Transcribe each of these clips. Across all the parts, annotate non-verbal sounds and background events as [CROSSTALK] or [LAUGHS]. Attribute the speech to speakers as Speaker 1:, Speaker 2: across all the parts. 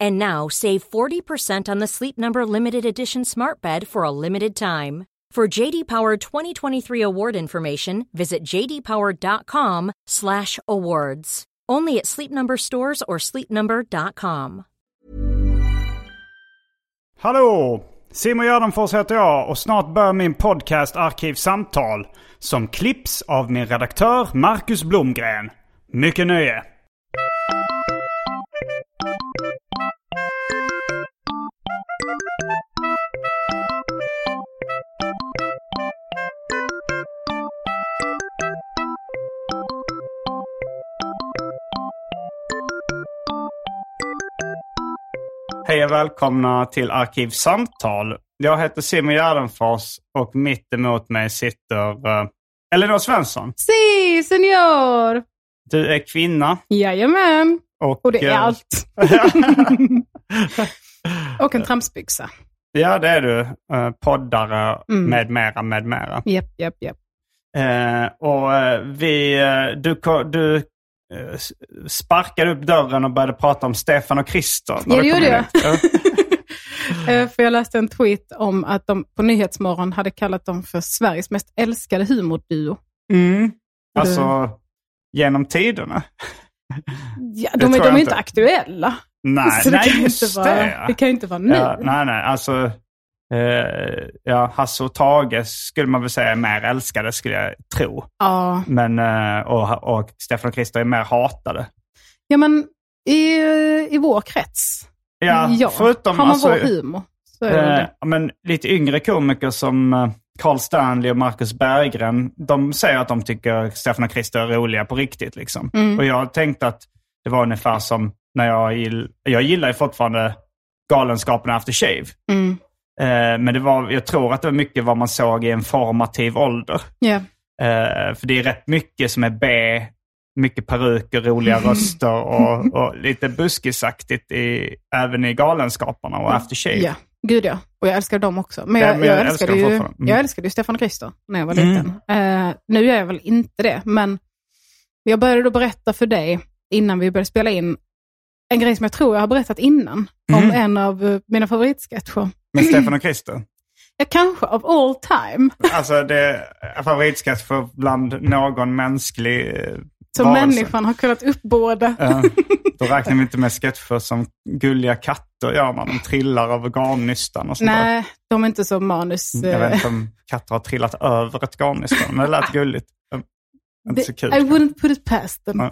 Speaker 1: And now save 40% on the Sleep Number limited edition smart bed for a limited time. For JD Power 2023 award information, visit jdpower.com/awards. Only at Sleep Number stores or sleepnumber.com.
Speaker 2: Hallå! Simon Gärdenfors heter jag och snart börjar min podcast Arkivsamtal som klipps av min redaktör Marcus Blomgren. Mycket nöje! Hej och välkomna till Arkivsamtal. Jag heter Simon Gärdenfors och mitt emot mig sitter eh, Elinor Svensson.
Speaker 3: Si, senior!
Speaker 2: Du är kvinna
Speaker 3: Jajamän.
Speaker 2: och...
Speaker 3: Och det är
Speaker 2: eh,
Speaker 3: allt. och en trampsbyxa.
Speaker 2: [LAUGHS] ja, det är du. Eh, Poddare
Speaker 3: Mm.
Speaker 2: med mera, med mera.
Speaker 3: Japp, japp, japp. [LAUGHS]
Speaker 2: Eh, och eh, vi, eh, du, ko- du eh, s- sparkade upp dörren och började prata om Stefan och Christer. när
Speaker 3: Jag
Speaker 2: du kom
Speaker 3: gjorde
Speaker 2: in.
Speaker 3: jag.
Speaker 2: Ja.
Speaker 3: Eh, för jag läste en tweet om att de på Nyhetsmorgon hade kallat dem för Sveriges mest älskade humorduo.
Speaker 2: Mm. Alltså, genom tiderna?
Speaker 3: Ja,
Speaker 2: tror
Speaker 3: de, är-
Speaker 2: jag
Speaker 3: de är
Speaker 2: inte.
Speaker 3: inte aktuella.
Speaker 2: Nej,
Speaker 3: så det,
Speaker 2: nej
Speaker 3: kan
Speaker 2: just
Speaker 3: inte vara, det.
Speaker 2: ja.
Speaker 3: kan inte vara nu.
Speaker 2: Ja, nej, nej. Alltså, eh, ja, Hasse och Tage skulle man väl säga är mer älskade, skulle jag tro.
Speaker 3: Ja.
Speaker 2: Men, eh, och, och Stefan och Christer är mer hatade.
Speaker 3: ja, men i, i vår krets,
Speaker 2: Ja,
Speaker 3: ja.
Speaker 2: förutom...
Speaker 3: har man
Speaker 2: alltså,
Speaker 3: vår humor, så är det
Speaker 2: eh, men lite yngre komiker som eh, Carl Stanley och Marcus Berggren, de säger att de tycker Stefan och Christer är roliga på riktigt. Liksom.
Speaker 3: Mm.
Speaker 2: Och jag tänkte att det var ungefär som när jag... Gill, jag gillar ju fortfarande Galenskaperna After Shave.
Speaker 3: det. Mm.
Speaker 2: Eh, men det var, jag tror att det var mycket vad man såg i en formativ ålder.
Speaker 3: Ja.
Speaker 2: Eh, för det är rätt mycket som är B, mycket peruker, roliga
Speaker 3: Mm.
Speaker 2: röster
Speaker 3: [LAUGHS]
Speaker 2: och, och lite buskisaktigt i, även i Galenskaparna och After Shave.
Speaker 3: Ja, gud ja. Och jag älskar dem också. Men
Speaker 2: Ja,
Speaker 3: jag,
Speaker 2: men
Speaker 3: jag,
Speaker 2: jag älskar
Speaker 3: älskade
Speaker 2: dem
Speaker 3: ju,
Speaker 2: fortfarande. Mm.
Speaker 3: jag älskade ju Stefan och Krister när jag var
Speaker 2: Mm.
Speaker 3: liten. Eh, nu gör jag väl inte det, men jag började då berätta för dig innan vi började spela in en grej som jag tror jag har berättat innan
Speaker 2: Mm.
Speaker 3: om en av eh, mina favoritsketcher.
Speaker 2: Men Stefan och Christer,
Speaker 3: Ja, kanske av all time.
Speaker 2: alltså det är favoritskatt för bland någon mänsklig eh,
Speaker 3: Som
Speaker 2: varelse.
Speaker 3: människan har kunnat uppbåda.
Speaker 2: Eh, Då räknar vi inte med sketcher som gulliga katter gör när de trillar över garnnystan och sånt där.
Speaker 3: Nej, de är inte så manus...
Speaker 2: Mm, Jag vet
Speaker 3: eh,
Speaker 2: inte om katter har trillat över ett garnnystan, men det lät gulligt. Mm, Inte så kul.
Speaker 3: I wouldn't put it past them.
Speaker 2: Ja.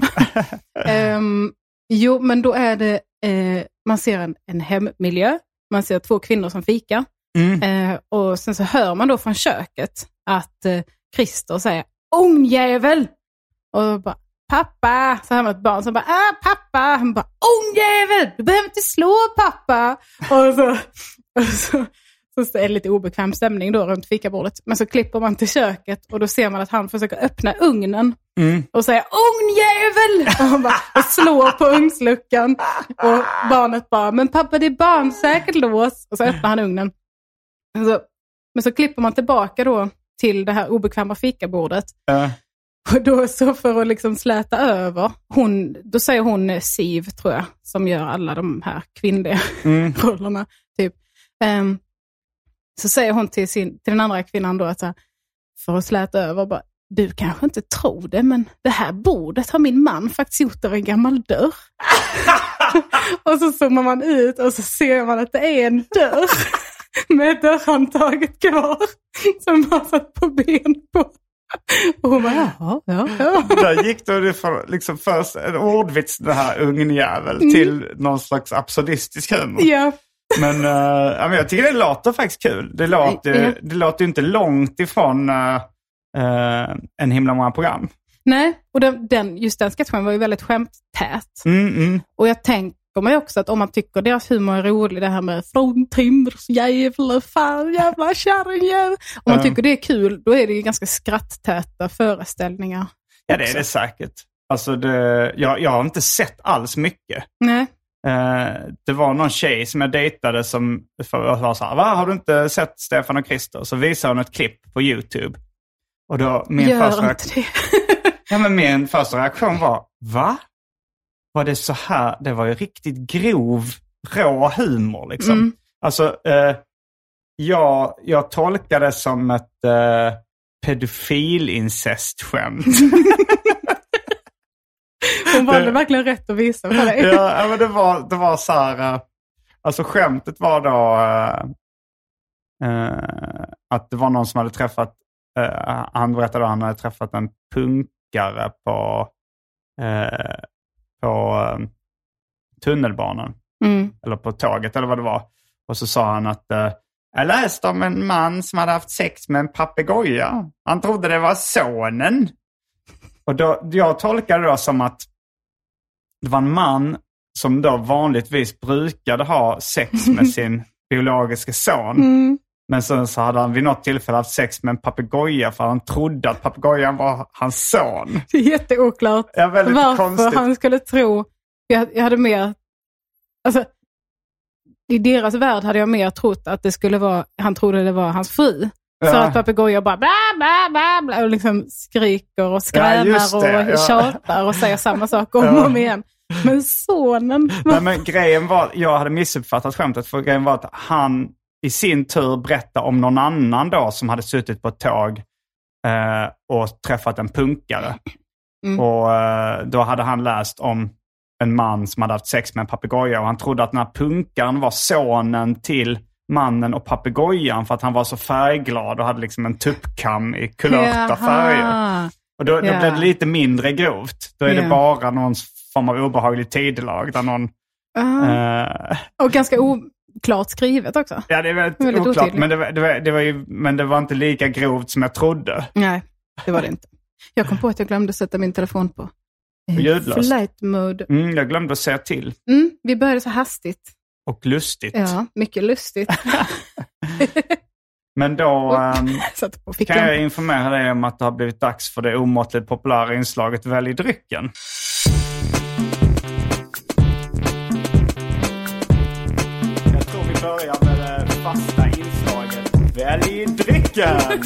Speaker 2: [LAUGHS]
Speaker 3: Ehm, jo, men då är det, eh, man ser en, en hemmiljö, man ser två kvinnor som fikar
Speaker 2: Mm.
Speaker 3: eh, och sen så hör man då från köket att eh, Christer säger ångjävel! Och då bara, pappa! Så hör man ett barn som bara, ah, pappa! Han bara, ångjävel! Du behöver inte slå pappa! Och så, och så, så är det lite obekväm stämning då runt fikabordet. Men så klipper man till köket och då ser man att han försöker öppna ugnen
Speaker 2: mm,
Speaker 3: och säga ångjävel! Och, han bara, och slår på ugnsluckan. Och barnet bara, men pappa det är barnsäkert lås. Och så öppnar han ugnen. Alltså, men så klipper man tillbaka då till det här obekväma fikabordet.
Speaker 2: Eh,
Speaker 3: Och då så för att liksom släta över, hon, då säger hon eh, Siv tror jag, som gör alla de här kvinnliga
Speaker 2: Mm.
Speaker 3: [LAUGHS] rollerna. Typ. Ehm, så säger hon till, sin, till den andra kvinnan då att så här, för att släta över, bara, du kanske inte tror det, men det här bordet har min man faktiskt gjort av en gammal dörr. [LAUGHS] och så zoomar man ut och så ser man att det är en dörr. [LAUGHS] med dörrhandtaget kvar som bara satt på ben på. Och hon bara, jaha, ja, ja.
Speaker 2: Där gick det från liksom först en ordvits, den här ungjävel, till någon slags absurdistisk humor.
Speaker 3: ja.
Speaker 2: Men eh, ja, men jag tycker det låter faktiskt kul. Det låter,
Speaker 3: Ja.
Speaker 2: det låter ju inte långt ifrån eh, eh, en himla många program.
Speaker 3: Nej, och den, den, just den sketchen var ju väldigt skämttät.
Speaker 2: Mm, mm.
Speaker 3: Och jag tänker mig också att om man tycker deras humor är rolig, det här med från Timbros jävla fan jävla kärringjävel. Om man
Speaker 2: Ja.
Speaker 3: tycker det är kul, då är det ju ganska skratttäta föreställningar.
Speaker 2: Ja, det är det säkert. Alltså det, jag, jag har inte sett alls mycket.
Speaker 3: Nej.
Speaker 2: Eh, det var någon tjej som jag dejtade som var så här, va har du inte sett Stefan och Christer? Så visade hon ett klipp på YouTube. Och då min, första,
Speaker 3: Gör
Speaker 2: reaktion,
Speaker 3: inte det.
Speaker 2: ja, men min första reaktion var, va? Var det så här? Det var ju riktigt grov, rå humor liksom.
Speaker 3: Mm.
Speaker 2: Alltså, eh, jag, jag tolkar det som ett eh, pedofilincestskämt.
Speaker 3: Hon valde
Speaker 2: Det-
Speaker 3: verkligen rätt att visa för
Speaker 2: [LAUGHS]
Speaker 3: dig.
Speaker 2: ja, ja, men det var, det var så här, eh, alltså skämtet var då eh, eh, att det var någon som hade träffat, eh, han berättade att han hade träffat en punkare på, eh, på eh, tunnelbanan,
Speaker 3: Mm.
Speaker 2: eller på tåget eller vad det var. Och så sa han att eh, jag läste om en man som hade haft sex med en papegoja. Han trodde det var sonen. Och då, jag tolkade det då som att det var en man som då vanligtvis brukade ha sex
Speaker 3: [LAUGHS]
Speaker 2: med sin biologiska son.
Speaker 3: Mm.
Speaker 2: Men sen så hade han vid något tillfälle haft sex med en papegoja för han trodde att papegojan var hans son.
Speaker 3: Det är jätteoklart
Speaker 2: Ja, väldigt
Speaker 3: varför
Speaker 2: konstigt.
Speaker 3: han skulle tro... Jag, jag hade mer... Alltså, I deras värld hade jag mer trott att det skulle vara... Han trodde det var hans fru. Så
Speaker 2: Ja.
Speaker 3: att papegojor bara bla, bla, bla, bla, och liksom skriker och skränar
Speaker 2: just det,
Speaker 3: och
Speaker 2: ja.
Speaker 3: tjatar och säger samma sak om
Speaker 2: Ja.
Speaker 3: och om igen.
Speaker 2: [LAUGHS]
Speaker 3: Men sonen...
Speaker 2: Nej, men grejen var, jag hade missuppfattat skämtet, för grejen var att han i sin tur berättade om någon annan då som hade suttit på ett tåg eh, och träffat en punkare.
Speaker 3: Mm.
Speaker 2: Och eh, då hade han läst om en man som hade haft sex med en papegoja och han trodde att den här punkaren var sonen till mannen och papegojan för att han var så färgglad och hade liksom en tuppkam i kulörta färger.
Speaker 3: Jaha.
Speaker 2: Och då, då
Speaker 3: Ja.
Speaker 2: blev det lite mindre grovt. Då är
Speaker 3: Ja.
Speaker 2: det bara någon form av obehaglig tidelag där någon
Speaker 3: Ah.
Speaker 2: Eh,
Speaker 3: Och ganska oklart skrivet också.
Speaker 2: ja, det är väldigt,
Speaker 3: Väldigt
Speaker 2: oklart.
Speaker 3: otydligt.
Speaker 2: Men det, var, det, var, det var ju, men det var inte lika grovt som jag trodde.
Speaker 3: Nej, det var det inte. Jag kom på att jag glömde sätta min telefon på eh,
Speaker 2: Ljudlöst.
Speaker 3: flight mode.
Speaker 2: Mm, jag glömde att säga till.
Speaker 3: Mm, vi började så hastigt.
Speaker 2: Och lustigt.
Speaker 3: Ja, mycket [LAUGHS] lustigt.
Speaker 2: Men då ehm,
Speaker 3: Satt på
Speaker 2: kan jag
Speaker 3: fickan.
Speaker 2: informera dig om att det har blivit dags för det omåttligt populära inslaget Välj drycken. Jag tror vi börjar med det fasta inslaget Välj drycken!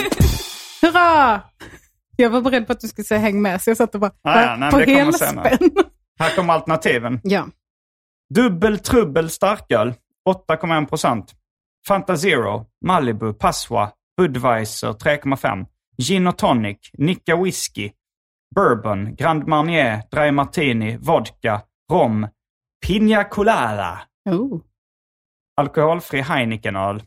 Speaker 3: Hurra! Jag var beredd på att du skulle säga häng med, så jag satt och bara
Speaker 2: Ah, ja, nej,
Speaker 3: på
Speaker 2: men det kommer senare.
Speaker 3: helspänn.
Speaker 2: Här kommer alternativen.
Speaker 3: Ja.
Speaker 2: Dubbel trubbel starköl, 8,1 procent. Fanta Zero, Malibu, Passoa, Budweiser, 3,5. Gin och tonic, Nicka whisky, bourbon, Grand Marnier, Dry Martini, vodka, rom, Pina Colada,
Speaker 3: Oh.
Speaker 2: alkoholfri Heinekenöl.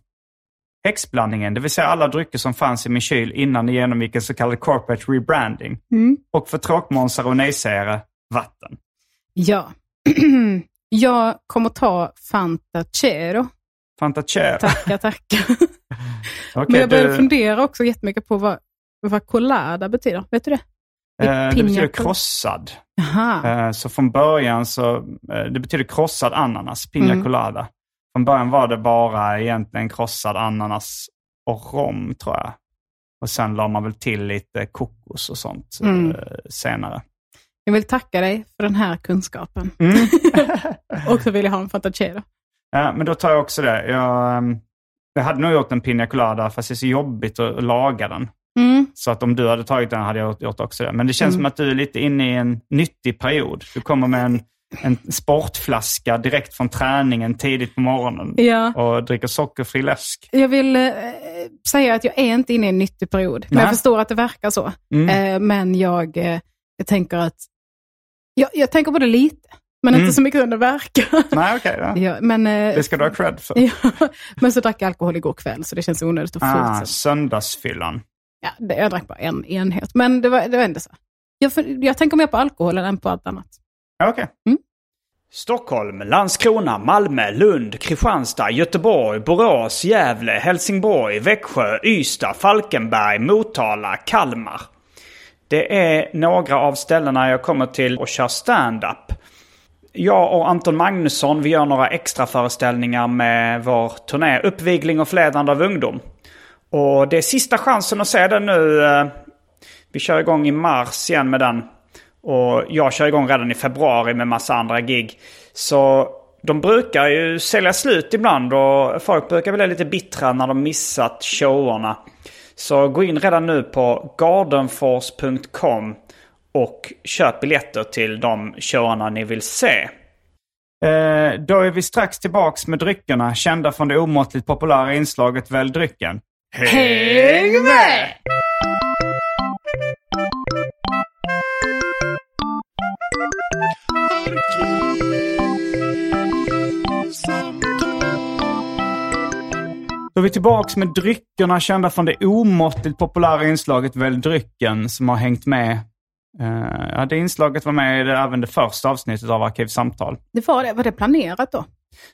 Speaker 2: Häxblandningen, det vill säga alla drycker som fanns i min kyl innan det genomgick en så kallad corporate rebranding.
Speaker 3: Mm.
Speaker 2: Och för tråkmånsar och nejsägare, vatten.
Speaker 3: Ja. [CLEARS THROAT] jag kommer ta Fanta Cero.
Speaker 2: Fanta Cher. [LAUGHS]
Speaker 3: Tackar, tackar.
Speaker 2: Okej,
Speaker 3: Men jag började
Speaker 2: du-
Speaker 3: fundera också jättemycket på vad, vad colada betyder. Vet du det?
Speaker 2: Eh, det
Speaker 3: Piña
Speaker 2: betyder
Speaker 3: colada.
Speaker 2: krossad.
Speaker 3: Aha.
Speaker 2: Eh, Så från början så, eh, det betyder krossad ananas, pina
Speaker 3: Mm.
Speaker 2: colada. Från början var det bara egentligen krossad ananas och rom tror jag. Och sen la man väl till lite kokos och sånt eh,
Speaker 3: Mm. [LAUGHS]
Speaker 2: senare.
Speaker 3: Jag vill tacka dig för den här kunskapen.
Speaker 2: Mm.
Speaker 3: Och så vill jag ha en Fanta Cero.
Speaker 2: Eh, Men då tar jag också det. Jag, ehm, jag hade nog gjort en pina colada fast det är så jobbigt att laga den.
Speaker 3: Mm.
Speaker 2: Så att om du hade tagit den hade jag gjort- gjort också det. Men det känns som att du är lite inne i en nyttig period. Du kommer med en, en sportflaska direkt från träningen tidigt på morgonen
Speaker 3: Ja.
Speaker 2: och dricker sockerfri läsk.
Speaker 3: Jag vill eh, säga att jag är inte inne i en nyttig period. Men jag
Speaker 2: Nej.
Speaker 3: förstår att det verkar så.
Speaker 2: Mm.
Speaker 3: Eh, men jag, eh, jag tänker att... Jag, jag tänker på det lite. Men inte så mycket som
Speaker 2: [LAUGHS]
Speaker 3: det verkar.
Speaker 2: Nej, okej. ja.
Speaker 3: Ja, men, eh,
Speaker 2: Mm. Det ska du ha cred för.
Speaker 3: [LAUGHS] ja, men så drack jag alkohol igår kväll, så det känns onödigt att
Speaker 2: Ah,
Speaker 3: fortsätta.
Speaker 2: söndagsfyllan.
Speaker 3: Ja, det, jag drack bara en enhet, men det var, det var ändå så. Jag, fun- jag tänker mer på alkoholen än på allt annat.
Speaker 2: Ja, Okej.
Speaker 3: Mm.
Speaker 4: Stockholm, Landskrona, Malmö, Lund, Kristianstad, Göteborg, Borås, Gävle, Helsingborg, Växjö, Ystad, Falkenberg, Motala, Kalmar. Det är några av ställena jag kommer till och kör stand-up. Jag och Anton Magnusson, vi gör några extra föreställningar med vår turné Uppvigling och förledande av ungdom. Och det är sista chansen att se den nu. eh, Vi kör igång i mars igen med den. Och jag kör igång redan i februari med massa andra gig. Så de brukar ju sälja slut ibland och folk brukar väl vara lite bittra när de missat showarna. Så gå in redan nu på gardenfors.com och köp biljetter till de showarna ni vill se.
Speaker 2: Eh, då är vi strax tillbaks med dryckerna, kända från det omåttligt populära inslaget Välj drycken.
Speaker 3: Häng med!
Speaker 2: Då är vi tillbaks med dryckerna, kända från det omåttligt populära inslaget Välj drycken, som har hängt med. Eh, ja, det inslaget var med i det, även det första avsnittet av Arkivsamtal.
Speaker 3: Det var, det, var det planerat då?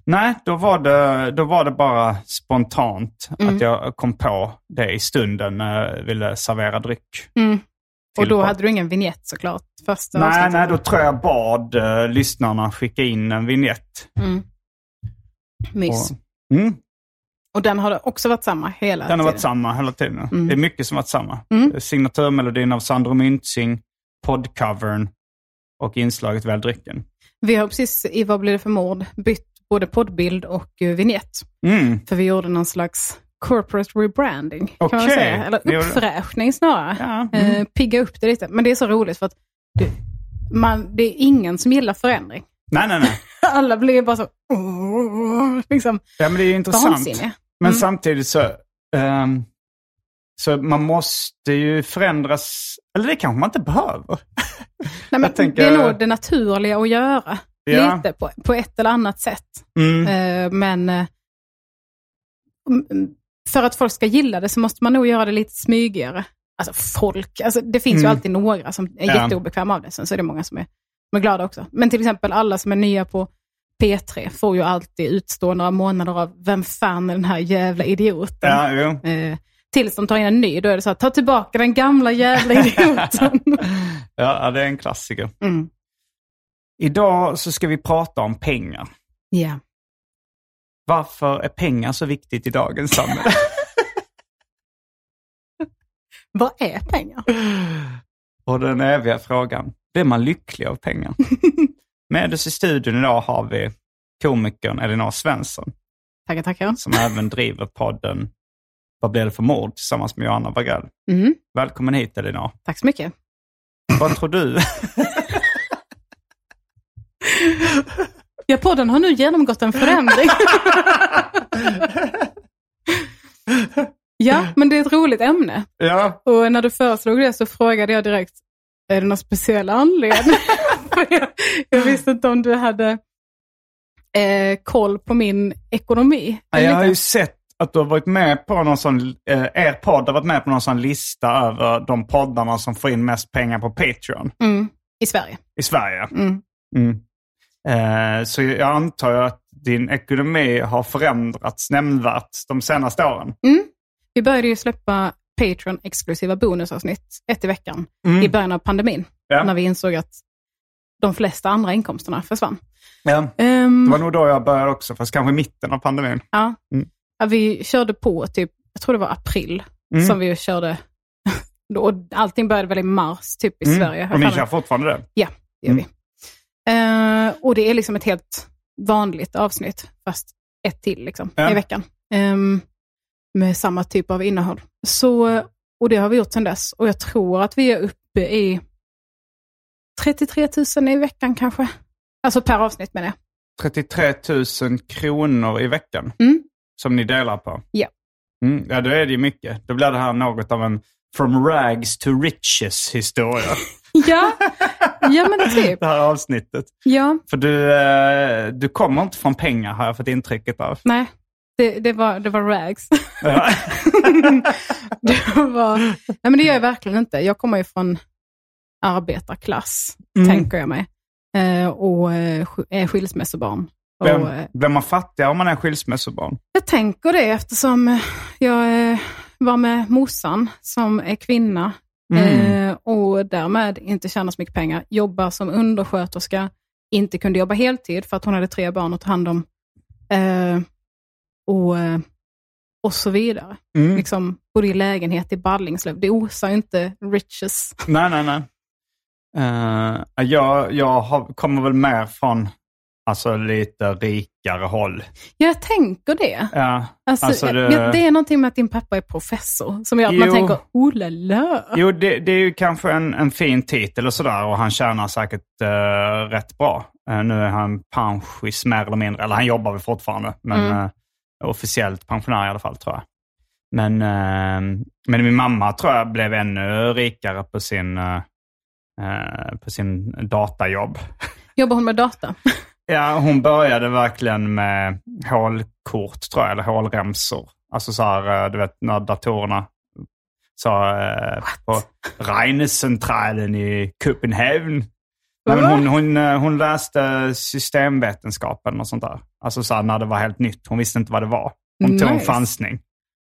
Speaker 2: Nej, då var det, då var det bara spontant
Speaker 3: Mm.
Speaker 2: att jag kom på det i stunden när jag ville servera dryck.
Speaker 3: Mm. Och då
Speaker 2: Till-
Speaker 3: hade du ingen vignett såklart? Första
Speaker 2: Nej,
Speaker 3: avsnittet.
Speaker 2: nej, då tror jag bad eh, lyssnarna skicka in en vignett.
Speaker 3: Mys.
Speaker 2: Och, mm,
Speaker 3: Och den har också varit samma hela
Speaker 2: den har varit
Speaker 3: tiden.
Speaker 2: samma hela tiden. Det är mycket som varit samma. Signaturmelodin av Sandro Myntzing, podcovern och inslaget Väl drycken.
Speaker 3: Vi har precis i Vad blir det för mord bytt både poddbild och eh, vignett.
Speaker 2: Mm.
Speaker 3: För vi gjorde någon slags corporate rebranding. Kan man
Speaker 2: Okej.
Speaker 3: säga.
Speaker 2: Ni
Speaker 3: Eller
Speaker 2: gjorde-
Speaker 3: uppfräschning snarare.
Speaker 2: Ja. Mm.
Speaker 3: Eh, pigga upp det lite. Men det är så roligt för att det, man, det är ingen som gillar förändring. [LAUGHS]
Speaker 2: Nej, nej, nej.
Speaker 3: Alla blir bara så... "Åh", Liksom,
Speaker 2: Ja, men det är ju intressant.
Speaker 3: vansinniga.
Speaker 2: Men samtidigt så, ehm, så man måste ju förändras. Eller det kanske man inte behöver.
Speaker 3: Nej, men
Speaker 2: Jag tänker-
Speaker 3: Det är nog det naturliga att göra.
Speaker 2: Ja.
Speaker 3: Lite på, på ett eller annat sätt.
Speaker 2: Mm.
Speaker 3: Eh, Men eh, m- m- för att folk ska gilla det så måste man nog göra det lite smygigare. Alltså folk, alltså det finns ju alltid några som är
Speaker 2: Mm. Ja.
Speaker 3: jätteobekväma av det. Sen så är det många som är, som är glada också. Men till exempel alla som är nya på P3 får ju alltid utstå några månader av vem fan är den här jävla idioten?
Speaker 2: Ja, jo.
Speaker 3: Eh, tills de tar in en ny, då är det så här, ta tillbaka den gamla jävla
Speaker 2: [LAUGHS]
Speaker 3: idioten.
Speaker 2: Ja, ja, det är en klassiker.
Speaker 3: mm.
Speaker 2: Idag så ska vi prata om pengar.
Speaker 3: yeah.
Speaker 2: Varför är pengar så viktigt i dagens samhälle?
Speaker 3: Vad är pengar?
Speaker 2: Och den eviga frågan, blir man lycklig av [LAUGHS] pengar? Med oss i studion idag har vi komikern Elinor Svensson
Speaker 3: Tackar, tackar.
Speaker 2: som även driver podden Vad blir det för mord tillsammans med Johanna Wagrell.
Speaker 3: Mm.
Speaker 2: Välkommen hit Elinor.
Speaker 3: Tack så mycket.
Speaker 2: Vad tror du?
Speaker 3: Ja, podden har nu genomgått en förändring. ja, men det är ett roligt ämne.
Speaker 2: [LAUGHS] ja,
Speaker 3: Och när du föreslog det så frågade jag direkt, är det någon speciell anledning? [LAUGHS] För jag, jag visste inte om du hade eh, koll på min ekonomi.
Speaker 2: jag har ju sett att du har varit med på någon sån, eh, er podd har varit med på någon sån lista över de poddarna som får in mest pengar på Patreon
Speaker 3: Mm, I Sverige.
Speaker 2: i Sverige.
Speaker 3: Mm.
Speaker 2: Mm. Eh, så jag antar att din ekonomi har förändrats nämnvärt de senaste åren.
Speaker 3: Vi började ju släppa Patreon-exklusiva bonusavsnitt, ett i veckan,
Speaker 2: Mm.
Speaker 3: i början av pandemin.
Speaker 2: Ja.
Speaker 3: När vi insåg att de flesta andra inkomsterna försvann.
Speaker 2: Ja.
Speaker 3: Ehm,
Speaker 2: Det var nog då jag började också, fast kanske i mitten av pandemin.
Speaker 3: Ja.
Speaker 2: Mm.
Speaker 3: ja. Vi körde på typ, jag tror det var april
Speaker 2: Mm.
Speaker 3: som vi körde. [LAUGHS] Och allting började väl i mars typ i
Speaker 2: Mm.
Speaker 3: Sverige. har
Speaker 2: Och ni
Speaker 3: jag för
Speaker 2: kör Mm.
Speaker 3: mig.
Speaker 2: fortfarande det?
Speaker 3: Det gör vi. Eh, och det är liksom ett helt vanligt avsnitt, fast ett till liksom,
Speaker 2: Ja.
Speaker 3: i veckan. Ehm, med samma typ av innehåll. Så, och det har vi gjort sedan dess. Och jag tror att vi är uppe i 33 000 i veckan kanske. Alltså per avsnitt menar jag.
Speaker 2: 33 000 kronor i veckan
Speaker 3: Mm.
Speaker 2: som ni delar på.
Speaker 3: Ja.
Speaker 2: Mm, ja, då är det ju mycket. Då blir det här något av en from rags to riches historia.
Speaker 3: Ja, Ja, men [LAUGHS] typ.
Speaker 2: det här avsnittet.
Speaker 3: Ja,
Speaker 2: För du, eh, du kommer inte från pengar har jag fått intrycket
Speaker 3: [LAUGHS]
Speaker 2: av.
Speaker 3: nej. Det, det, var, det var rags. [LAUGHS] det var, nej, men det gör jag verkligen inte. Jag kommer ju från arbetarklass,
Speaker 2: Mm.
Speaker 3: tänker jag mig. Eh, och eh, sk- är skilsmässobarn. Och, eh,
Speaker 2: Vem, vem man fattigare om man är skilsmässobarn?
Speaker 3: Jag tänker det eftersom eh, jag eh, var med morsan som är kvinna
Speaker 2: Mm.
Speaker 3: eh, och därmed inte tjänar så mycket pengar. Jobbar som undersköterska, inte kunde jobba heltid för att hon hade tre barn att ta hand om. Eh, och, eh, och så vidare.
Speaker 2: Mm.
Speaker 3: Liksom, bodde i lägenhet i Ballingslöv. Det osar ju inte riches.
Speaker 2: Nej, nej, nej. Eh, jag jag har, kommer väl mer från alltså, lite rikare håll.
Speaker 3: Jag tänker det.
Speaker 2: Ja,
Speaker 3: Alltså,
Speaker 2: Alltså,
Speaker 3: jag-
Speaker 2: det-
Speaker 3: jag, det är någonting med att din pappa är professor som gör att man
Speaker 2: Jo.
Speaker 3: tänker, oh la la.
Speaker 2: jo, det, det är ju kanske en, en fin titel och sådär och han tjänar säkert eh, rätt bra. Eh, nu är han pensionär mer eller mindre, eller han jobbar väl fortfarande, men
Speaker 3: Mm.
Speaker 2: eh, officiellt pensionär i alla fall tror jag. Men, eh, men min mamma tror jag blev ännu rikare på sin, eh, eh, på sin datajobb.
Speaker 3: Jobbar hon med data?
Speaker 2: Ja, hon började verkligen med hålkort, tror jag, eller hålremsor. Alltså så här, eh, du vet, när datorerna sa eh, på Rheinecentralen i Köpenhamn. Nej, men
Speaker 3: Va?
Speaker 2: hon, hon, eh, hon läste systemvetenskapen och sånt där. Alltså så här, när det var helt nytt. Hon visste inte vad det var. Hon tog en
Speaker 3: Nice.
Speaker 2: chansning.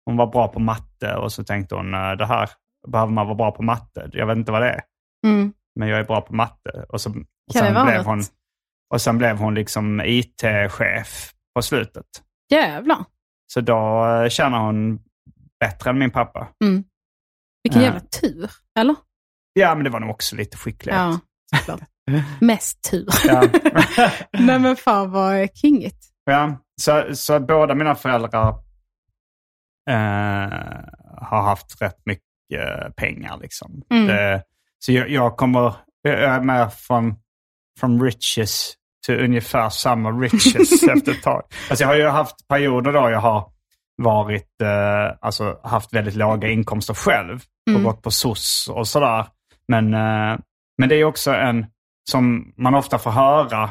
Speaker 2: Hon var bra på matte och så tänkte hon, eh, det här behöver man vara bra på matte. Jag vet inte vad det är
Speaker 3: Mm.
Speaker 2: men jag är bra på matte. Och, så, och,
Speaker 3: Kan det
Speaker 2: sen,
Speaker 3: vara
Speaker 2: blev
Speaker 3: något?
Speaker 2: hon, och sen blev hon liksom IT-chef på slutet.
Speaker 3: Jävlar.
Speaker 2: Så då eh, tjänar hon bättre än min pappa.
Speaker 3: Vilken
Speaker 2: Ja.
Speaker 3: jävla tur, eller?
Speaker 2: Ja, men det var nog också lite skicklighet.
Speaker 3: Ja, såklart.
Speaker 2: [LAUGHS]
Speaker 3: Mest tur.
Speaker 2: Ja.
Speaker 3: [LAUGHS]
Speaker 2: [LAUGHS]
Speaker 3: Nej men fan vad kingigt.
Speaker 2: Ja, så, så båda mina föräldrar eh, har haft rätt mycket pengar. Liksom.
Speaker 3: Mm.
Speaker 2: Det, så jag, jag kommer, jag är med från, från riches till ungefär samma riches
Speaker 3: [LAUGHS]
Speaker 2: efter ett tag. Alltså jag har ju haft perioder då jag har varit, eh, alltså haft väldigt låga inkomster själv och
Speaker 3: Mm.
Speaker 2: gått på SOS och sådär. Men, eh, men det är också en, som man ofta får höra,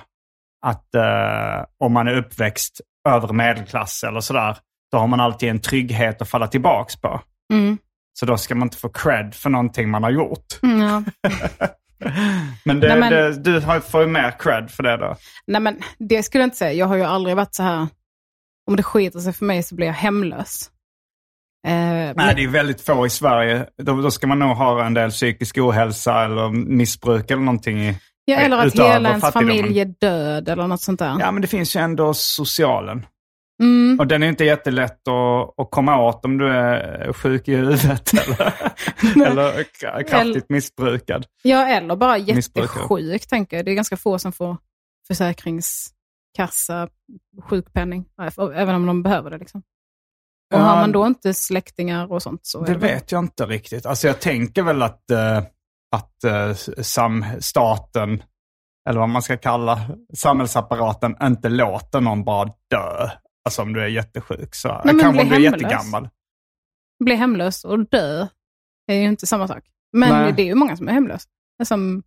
Speaker 2: att eh, om man är uppväxt över medelklass eller sådär, då har man alltid en trygghet att falla tillbaks på.
Speaker 3: Mm.
Speaker 2: Så då ska man inte få cred för någonting man har gjort. [LAUGHS]
Speaker 3: Mm, Ja.
Speaker 2: Men, det,
Speaker 3: Nej, men-
Speaker 2: Det, du har- får ju mer cred för det då.
Speaker 3: Nej men det skulle jag inte säga. Jag har ju aldrig varit så här, om det skiter sig för mig så blir jag hemlös. Eh,
Speaker 2: Nej,
Speaker 3: men-
Speaker 2: det är väldigt få i Sverige. Då, då ska man nog ha en del psykisk ohälsa eller missbruk eller någonting. i-
Speaker 3: ja, eller att
Speaker 2: utöver
Speaker 3: hela ens
Speaker 2: fattigdomen.
Speaker 3: familj är död eller något sånt där.
Speaker 2: Ja, men det finns ju ändå socialen.
Speaker 3: Mm.
Speaker 2: Och den är inte jättelätt att, att komma åt om du är sjuk i huvudet [LAUGHS] eller, eller k- kraftigt missbrukad.
Speaker 3: ja eller bara
Speaker 2: Missbrukare.
Speaker 3: jättesjuk tänker jag. Det är ganska få som får försäkringskassa, sjukpenning, även om de behöver det. Liksom. Och
Speaker 2: Ja,
Speaker 3: har man då inte släktingar och sånt så är
Speaker 2: Det
Speaker 3: väl-
Speaker 2: vet jag inte riktigt. Alltså jag tänker väl att, eh, att eh, sam, staten, eller vad man ska kalla samhällsapparaten, inte låter någon bara dö. Alltså om du är jättesjuk. Så
Speaker 3: men
Speaker 2: kanske
Speaker 3: bli
Speaker 2: om du är
Speaker 3: hemlös.
Speaker 2: jättegammal.
Speaker 3: bli hemlös och dö är ju inte samma sak. Men
Speaker 2: Nej.
Speaker 3: det är ju många som är hemlösa. Som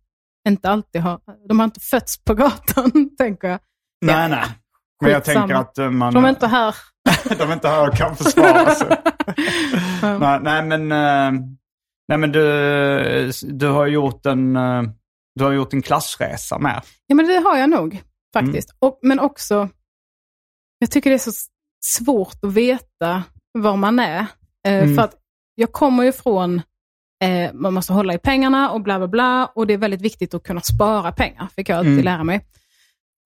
Speaker 3: inte alltid har, de har inte fötts på gatan, [LAUGHS] tänker jag.
Speaker 2: Nej, nej. Men jag
Speaker 3: Skitsamma.
Speaker 2: tänker att eh, man...
Speaker 3: De är inte här.
Speaker 2: [LAUGHS] de är inte här och kan försvara
Speaker 3: [LAUGHS]
Speaker 2: sig. nej, nej, men, eh, nej, men du, du har gjort en... eh, Du har gjort en klassresa med.
Speaker 3: Ja, men det har jag
Speaker 2: Mm.
Speaker 3: nog faktiskt. Och, men också, jag tycker det är så s- svårt att veta var man är. Eh,
Speaker 2: Mm.
Speaker 3: För att jag kommer ju från, eh, man måste hålla i pengarna och bla bla bla. Och det är väldigt viktigt att kunna spara pengar, fick jag alltid
Speaker 2: Mm.
Speaker 3: lära mig.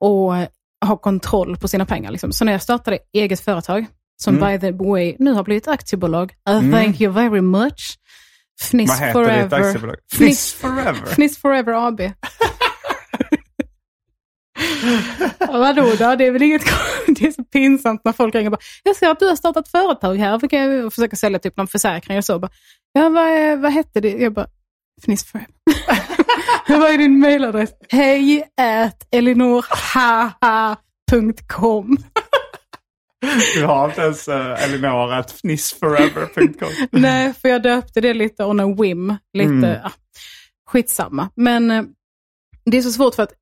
Speaker 3: Och eh, ha kontroll på sina pengar. Liksom. Så när jag startade eget företag, som
Speaker 2: Mm.
Speaker 3: by the way nu har blivit aktiebolag, I
Speaker 2: Mm.
Speaker 3: thank you very much. Fniss
Speaker 2: Vad heter
Speaker 3: forever.
Speaker 2: ditt aktiebolag?
Speaker 3: Fniss-
Speaker 2: Fniss Forever.
Speaker 3: Fniss Forever AB. Ja, Vadå då? Det är väl inget [LAUGHS] kon- Det är så pinsamt när folk ringer och bara, jag ser att du har startat företag här och försöker jag försöka sälja typ någon försäkring och så. Bara, ja, vad, är- vad hette det? Jag bara, Fniss Forever. [LAUGHS] vad är din mailadress? Hej at elinorhaha.com.
Speaker 2: Du har inte ens uh, Elinora fnissforever.com.
Speaker 3: Nej, för jag döpte det lite on a whim. Lite,
Speaker 2: Mm.
Speaker 3: ah, skitsamma. Men eh, det är så svårt för att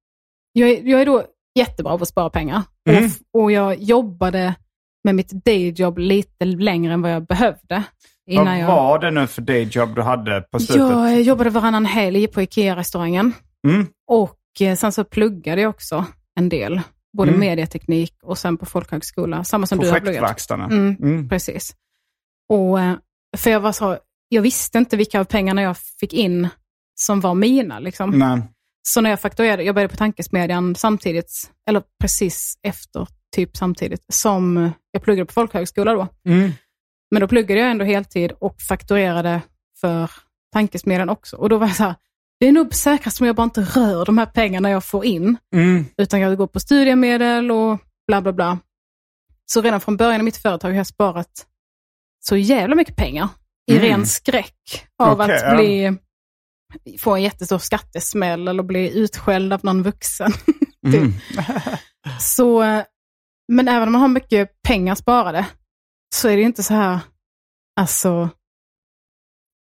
Speaker 3: jag är, jag är då jättebra på att spara pengar.
Speaker 4: Mm.
Speaker 3: Och, och jag jobbade med mitt dayjob lite längre än vad jag behövde. Innan
Speaker 2: Vad
Speaker 3: jag,
Speaker 2: var det nu för dayjob du hade på slutet?
Speaker 3: jag jobbade varannan helg på IKEA-restaurangen.
Speaker 2: Mm.
Speaker 3: Och eh, sen så pluggade jag också en del. Både
Speaker 2: Mm.
Speaker 3: medieteknik och sen på folkhögskola. Samma som du har pluggat.
Speaker 2: Projektverkstarna.
Speaker 3: Mm,
Speaker 2: Mm.
Speaker 3: Precis. Och, eh, för jag, var så, jag visste inte vilka av pengarna jag fick in som var mina. Liksom.
Speaker 2: Mm. Nej.
Speaker 3: Så när jag fakturerade, jag började på Tankesmedjan samtidigt, eller precis efter, typ samtidigt, som jag pluggade på folkhögskola då.
Speaker 2: Mm.
Speaker 3: Men då pluggade jag ändå heltid och fakturerade för Tankesmedjan också. Och då var jag så här, det är nog säkrast om jag bara inte rör de här pengarna jag får in,
Speaker 2: Mm.
Speaker 3: utan jag går på studiemedel och bla bla bla. Så redan från början i mitt företag har jag sparat så jävla mycket pengar i
Speaker 2: Mm.
Speaker 3: ren skräck av
Speaker 2: Okej,
Speaker 3: att
Speaker 2: ja.
Speaker 3: bli, få en jättestor skattesmäll eller bli utskälld av någon vuxen. [LAUGHS]
Speaker 2: Mm.
Speaker 3: Så, eh, men även om man har mycket pengar sparade så är det ju inte så här, alltså,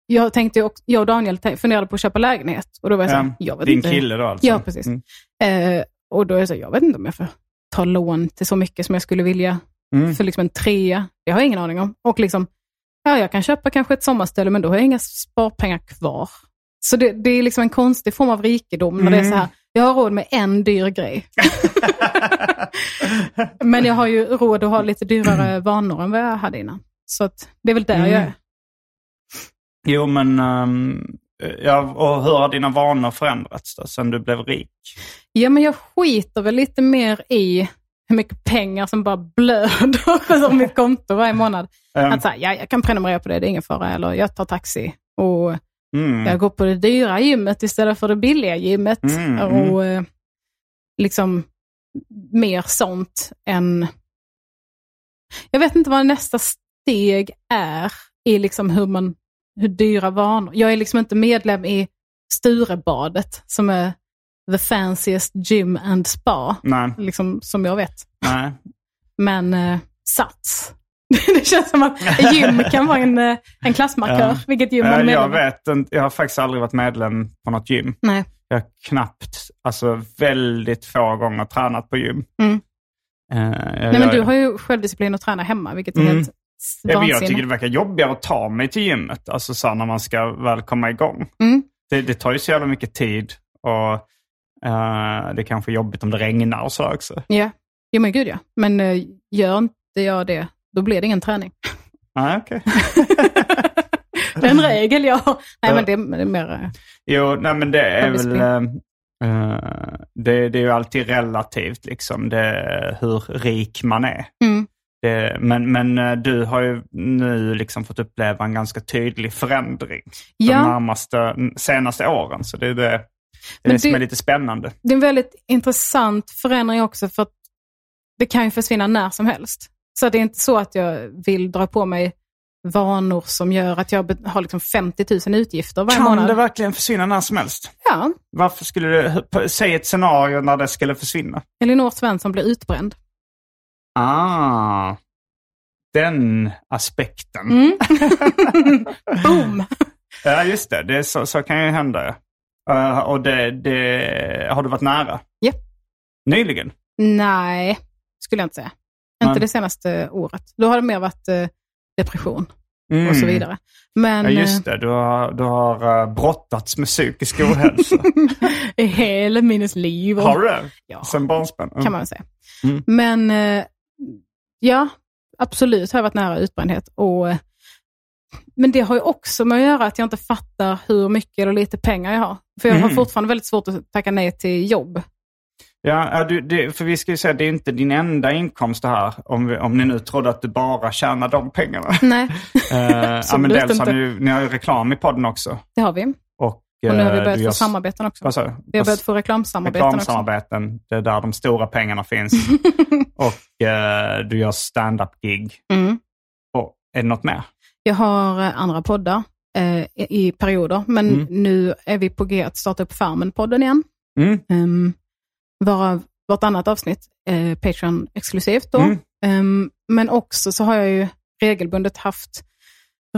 Speaker 3: jag tänkte ju också, jag och Daniel te- funderade på att köpa lägenhet och då var jag så här,
Speaker 2: Ja,
Speaker 3: jag vet
Speaker 2: Eh, Din
Speaker 3: inte.
Speaker 2: kille då alltså?
Speaker 3: Ja, precis.
Speaker 2: Mm.
Speaker 3: Eh, och då är jag så här, jag vet inte om jag får ta lån till så mycket som jag skulle vilja
Speaker 2: Mm.
Speaker 3: för liksom en trea. Det har jag ingen aning om. Och liksom, ja, jag kan köpa kanske ett sommarställe, men då har jag inga sparpengar kvar. Så det, det är liksom en konstig form av rikedom när det är så här, jag har råd med en dyr grej. men jag har ju råd att ha lite dyrare vanor än vad jag hade innan. Så att, det är väl där jag är.
Speaker 2: Jo, men ehm, ja, och hur har dina vanor förändrats då, sen du blev rik?
Speaker 3: Ja, men jag skiter väl lite mer i hur mycket pengar som bara blöder [LAUGHS] på mitt konto varje månad.
Speaker 2: Ehm,
Speaker 3: Att så här, ja, jag kan prenumerera på det, det är ingen fara. Eller jag tar taxi och
Speaker 2: mm.
Speaker 3: jag går på det dyra gymmet istället för det billiga gymmet.
Speaker 2: Mm, mm.
Speaker 3: och eh, liksom mer sånt än... Jag vet inte vad nästa steg är i liksom hur man hur dyra vanor. Jag är liksom inte medlem i Sturebadet som är the fanciest gym and spa,
Speaker 2: Nej,
Speaker 3: liksom, som jag vet.
Speaker 2: nej.
Speaker 3: Men eh, Sats. [LAUGHS] det känns som att gym kan vara en, eh, en klassmarkör,
Speaker 2: Ja.
Speaker 3: vilket gym man är
Speaker 2: Jag,
Speaker 3: medlem
Speaker 2: Eh, jag
Speaker 3: i.
Speaker 2: vet inte. Jag har faktiskt aldrig varit medlem på något gym.
Speaker 3: Nej.
Speaker 2: Jag har knappt, alltså väldigt få gånger tränat på gym.
Speaker 3: Mm.
Speaker 2: Eh, jag
Speaker 3: Nej,
Speaker 2: gör
Speaker 3: men du
Speaker 2: ju-
Speaker 3: har ju självdisciplin att träna hemma, vilket är
Speaker 2: Mm.
Speaker 3: helt s-
Speaker 2: Ja, men
Speaker 3: vansinne.
Speaker 2: jag tycker det verkar jobbigare att ta mig till gymmet, alltså så här, när man ska väl komma igång.
Speaker 3: Mm.
Speaker 2: Det, det tar ju så jävla mycket tid och eh, det är kanske är jobbigt om det regnar och så också.
Speaker 3: Ja. Jo, men gud ja. Men eh, gör inte jag det, då blir det
Speaker 2: [LAUGHS]
Speaker 3: ingen träning. [LAUGHS]
Speaker 2: Nej, okej.
Speaker 3: det är en regel jag har. Nej,
Speaker 2: Ja.
Speaker 3: men det är, det är mer... eh,
Speaker 2: Jo, nej men det är
Speaker 3: Självdisciplin.
Speaker 2: väl... eh, eh, det, det är ju alltid relativt liksom, det, hur rik man är.
Speaker 3: Mm.
Speaker 2: Det, men men eh, du har ju nu liksom fått uppleva en ganska tydlig förändring
Speaker 3: Ja,
Speaker 2: de närmaste, senaste åren. Så det är det, det, är
Speaker 3: Men
Speaker 2: det som
Speaker 3: du-
Speaker 2: är lite spännande.
Speaker 3: det är en väldigt intressant förändring också, för att det kan ju försvinna när som helst. Så det är inte så att jag vill dra på mig vanor som gör att jag be- har liksom 50 000 utgifter varje
Speaker 2: Kan
Speaker 3: månad.
Speaker 2: det verkligen försvinna när som helst?
Speaker 3: Ja,
Speaker 2: Varför skulle du... Säg ett scenario när det skulle försvinna.
Speaker 3: Elinor Svensson blir utbränd.
Speaker 2: Ah, den aspekten.
Speaker 3: Mm.
Speaker 2: [LAUGHS]
Speaker 3: Boom!
Speaker 2: Ja, just det. det är så, så kan ju hända. ja. Eh, och det, det, har du varit nära?
Speaker 3: Ja.
Speaker 2: Nyligen?
Speaker 3: Nej, skulle jag inte säga.
Speaker 2: Nej.
Speaker 3: Inte det senaste året. Då har det mer varit eh, depression
Speaker 2: Mm.
Speaker 3: och så vidare. Men eh,
Speaker 2: Ja, just det. Du har, du har eh, brottats med psykisk
Speaker 3: [LAUGHS]
Speaker 2: ohälsa.
Speaker 3: eh, hela minnes liv. Och,
Speaker 2: har du det?
Speaker 3: Ja,
Speaker 2: Sen barnsben? Mm.
Speaker 3: kan man väl säga.
Speaker 2: Mm.
Speaker 3: Men eh, ja, absolut har jag varit nära utbrändhet. Och, eh, men det har ju också med att göra att jag inte fattar hur mycket eller lite pengar jag har. För jag har
Speaker 2: Mm.
Speaker 3: fortfarande väldigt svårt att tacka nej till jobb.
Speaker 2: Ja, ja, du, det, för vi ska ju säga att det är inte din enda inkomst det här. Om, vi, om ni nu trodde att du bara tjänar de pengarna.
Speaker 3: Nej,
Speaker 2: Eh, [LAUGHS] ja, men
Speaker 3: Absolut
Speaker 2: dels har
Speaker 3: inte.
Speaker 2: ni, ju- ni har ju reklam i podden också.
Speaker 3: det har vi.
Speaker 2: Och,
Speaker 3: Och nu har vi
Speaker 2: eh,
Speaker 3: börjat
Speaker 2: du
Speaker 3: få
Speaker 2: gör-
Speaker 3: samarbeten också.
Speaker 2: Vad sa du?
Speaker 3: Vi har börjat få reklamsamarbeten också.
Speaker 2: reklamsamarbeten. Det är där de stora pengarna
Speaker 3: [LAUGHS]
Speaker 2: finns. och eh, du gör stand-up-gig.
Speaker 3: Mm.
Speaker 2: Och, är det något mer?
Speaker 3: Jag har eh, andra poddar eh, i- i perioder, men
Speaker 2: Mm.
Speaker 3: nu är vi på G att starta upp Farmen-podden igen.
Speaker 2: Mm.
Speaker 3: Um, varav vartannat avsnitt eh, Patreon-exklusivt då.
Speaker 2: Mm.
Speaker 3: Ehm, men också så har jag ju regelbundet haft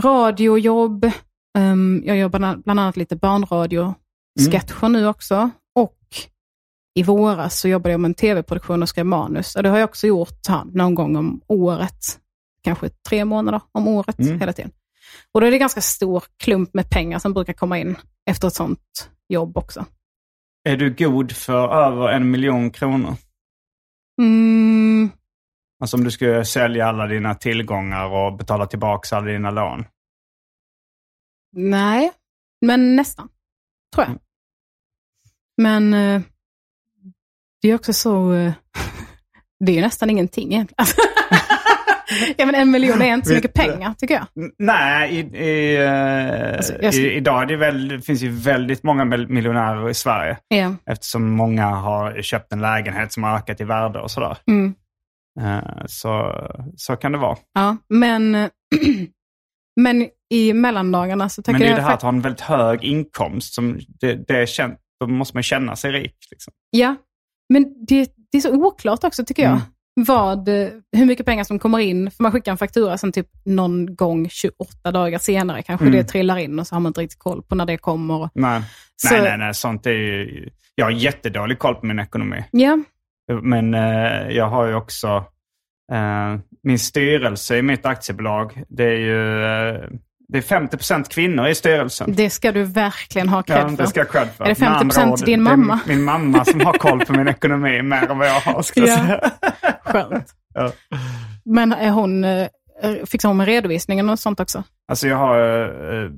Speaker 2: Mm.
Speaker 3: radiojobb. Ehm, jag gör bland, bland annat lite barnradio-sketcher nu också. Och i våras så jobbade jag med en tv-produktion och skrev manus. Och det har jag också gjort ja, någon gång om året. Kanske tre månader om året
Speaker 2: Mm.
Speaker 3: hela tiden. Och då är det ganska stor klump med pengar som brukar komma in efter ett sånt jobb också.
Speaker 2: Är du god för över en miljon kronor?
Speaker 3: Mm,
Speaker 2: Alltså om du skulle sälja alla dina tillgångar och betala tillbaka alla dina lån.
Speaker 3: nej, men nästan. Tror jag. Men eh, det är också så... eh, [LAUGHS] det är ju nästan ingenting egentligen. [LAUGHS] Alltså, ja, men en miljon är inte så
Speaker 2: Vet
Speaker 3: mycket pengar, tycker jag.
Speaker 2: N- Nej, i, i, eh,
Speaker 3: Alltså, jag sk-
Speaker 2: i, idag är det väl, det finns ju väldigt många mil- miljonärer i Sverige.
Speaker 3: Ja.
Speaker 2: Eftersom många har köpt en lägenhet som har ökat i värde och sådär.
Speaker 3: Mm.
Speaker 2: Eh, Så, så kan det vara.
Speaker 3: Ja, men, [CLEARS THROAT] eh, men i mellandagarna så
Speaker 2: Men
Speaker 3: tänker
Speaker 2: det är ju
Speaker 3: jag...
Speaker 2: det här
Speaker 3: fakt-
Speaker 2: att ha en väldigt hög inkomst. Som det, det är känt, då måste man känna sig rik. Liksom.
Speaker 3: ja, men det, det är så oklart också tycker jag.
Speaker 2: Mm.
Speaker 3: Vad, eh, hur mycket pengar som kommer in. För man skickar en faktura sen typ någon gång 28 dagar senare kanske
Speaker 2: Mm.
Speaker 3: det trillar in och så har man inte riktigt koll på när det kommer.
Speaker 2: Nej.
Speaker 3: Så-
Speaker 2: nej, nej, nej. Sånt är ju... Jag har jättedålig koll på min ekonomi.
Speaker 3: Ja,
Speaker 2: Men eh, jag har ju också... Eh, min styrelse i mitt aktiebolag, det är ju... Eh, det är 50 kvinnor i styrelsen.
Speaker 3: det ska du verkligen ha
Speaker 2: Ja,
Speaker 3: cred för.
Speaker 2: det ska jag ha cred för.
Speaker 3: Är det
Speaker 2: Med andra
Speaker 3: 50%
Speaker 2: ord,
Speaker 3: din
Speaker 2: det är
Speaker 3: mamma?
Speaker 2: Min mamma som har koll på min ekonomi mer än vad jag har. Ska jag
Speaker 3: Ja.
Speaker 2: säga.
Speaker 3: Skönt.
Speaker 2: [LAUGHS] Ja.
Speaker 3: Men är hon, eh, fixar hon med redovisningen och sånt också?
Speaker 2: Alltså jag har eh,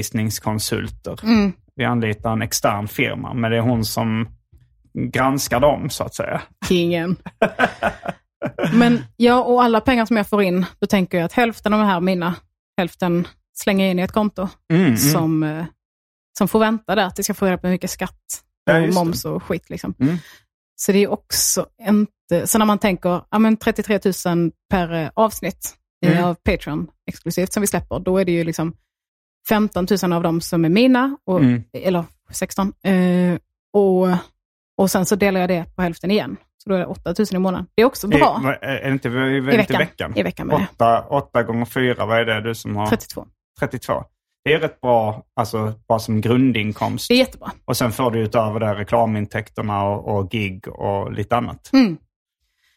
Speaker 2: redovisningskonsulter.
Speaker 3: Mm.
Speaker 2: Vi anlitar en extern firma, men det är hon som granskar dem så att säga. [LAUGHS]
Speaker 3: Kingen. Men ja, och alla pengar som jag får in, då tänker jag att hälften av de här är mina, hälften slänger jag in i ett konto
Speaker 2: Mm, mm.
Speaker 3: Som, eh, som får vänta där tills jag får reda på hur mycket skatt
Speaker 2: Ja,
Speaker 3: och
Speaker 2: just det.
Speaker 3: moms och skit. Liksom.
Speaker 2: Mm.
Speaker 3: Så det är också inte... Så när man tänker ja, men 33 000 per eh, avsnitt eh,
Speaker 2: Mm.
Speaker 3: av Patreon exklusivt som vi släpper, då är det ju liksom 15 000 av dem som är mina, och,
Speaker 2: Mm.
Speaker 3: eller 16. Eh, och, och sen så delar jag det på hälften igen. Så då är det 8 000 i månaden. Det är också
Speaker 2: I,
Speaker 3: bra.
Speaker 2: va- är det inte, är det inte
Speaker 3: I
Speaker 2: veckan?
Speaker 3: veckan. I veckan med
Speaker 2: Åtta, åtta gånger fyra, vad är det du som har?
Speaker 3: 32.
Speaker 2: 32. Det är rätt bra, alltså bara som grundinkomst.
Speaker 3: Det är jättebra.
Speaker 2: Och sen får du utöver det reklamintäkterna och, och gig och lite annat.
Speaker 3: Mm.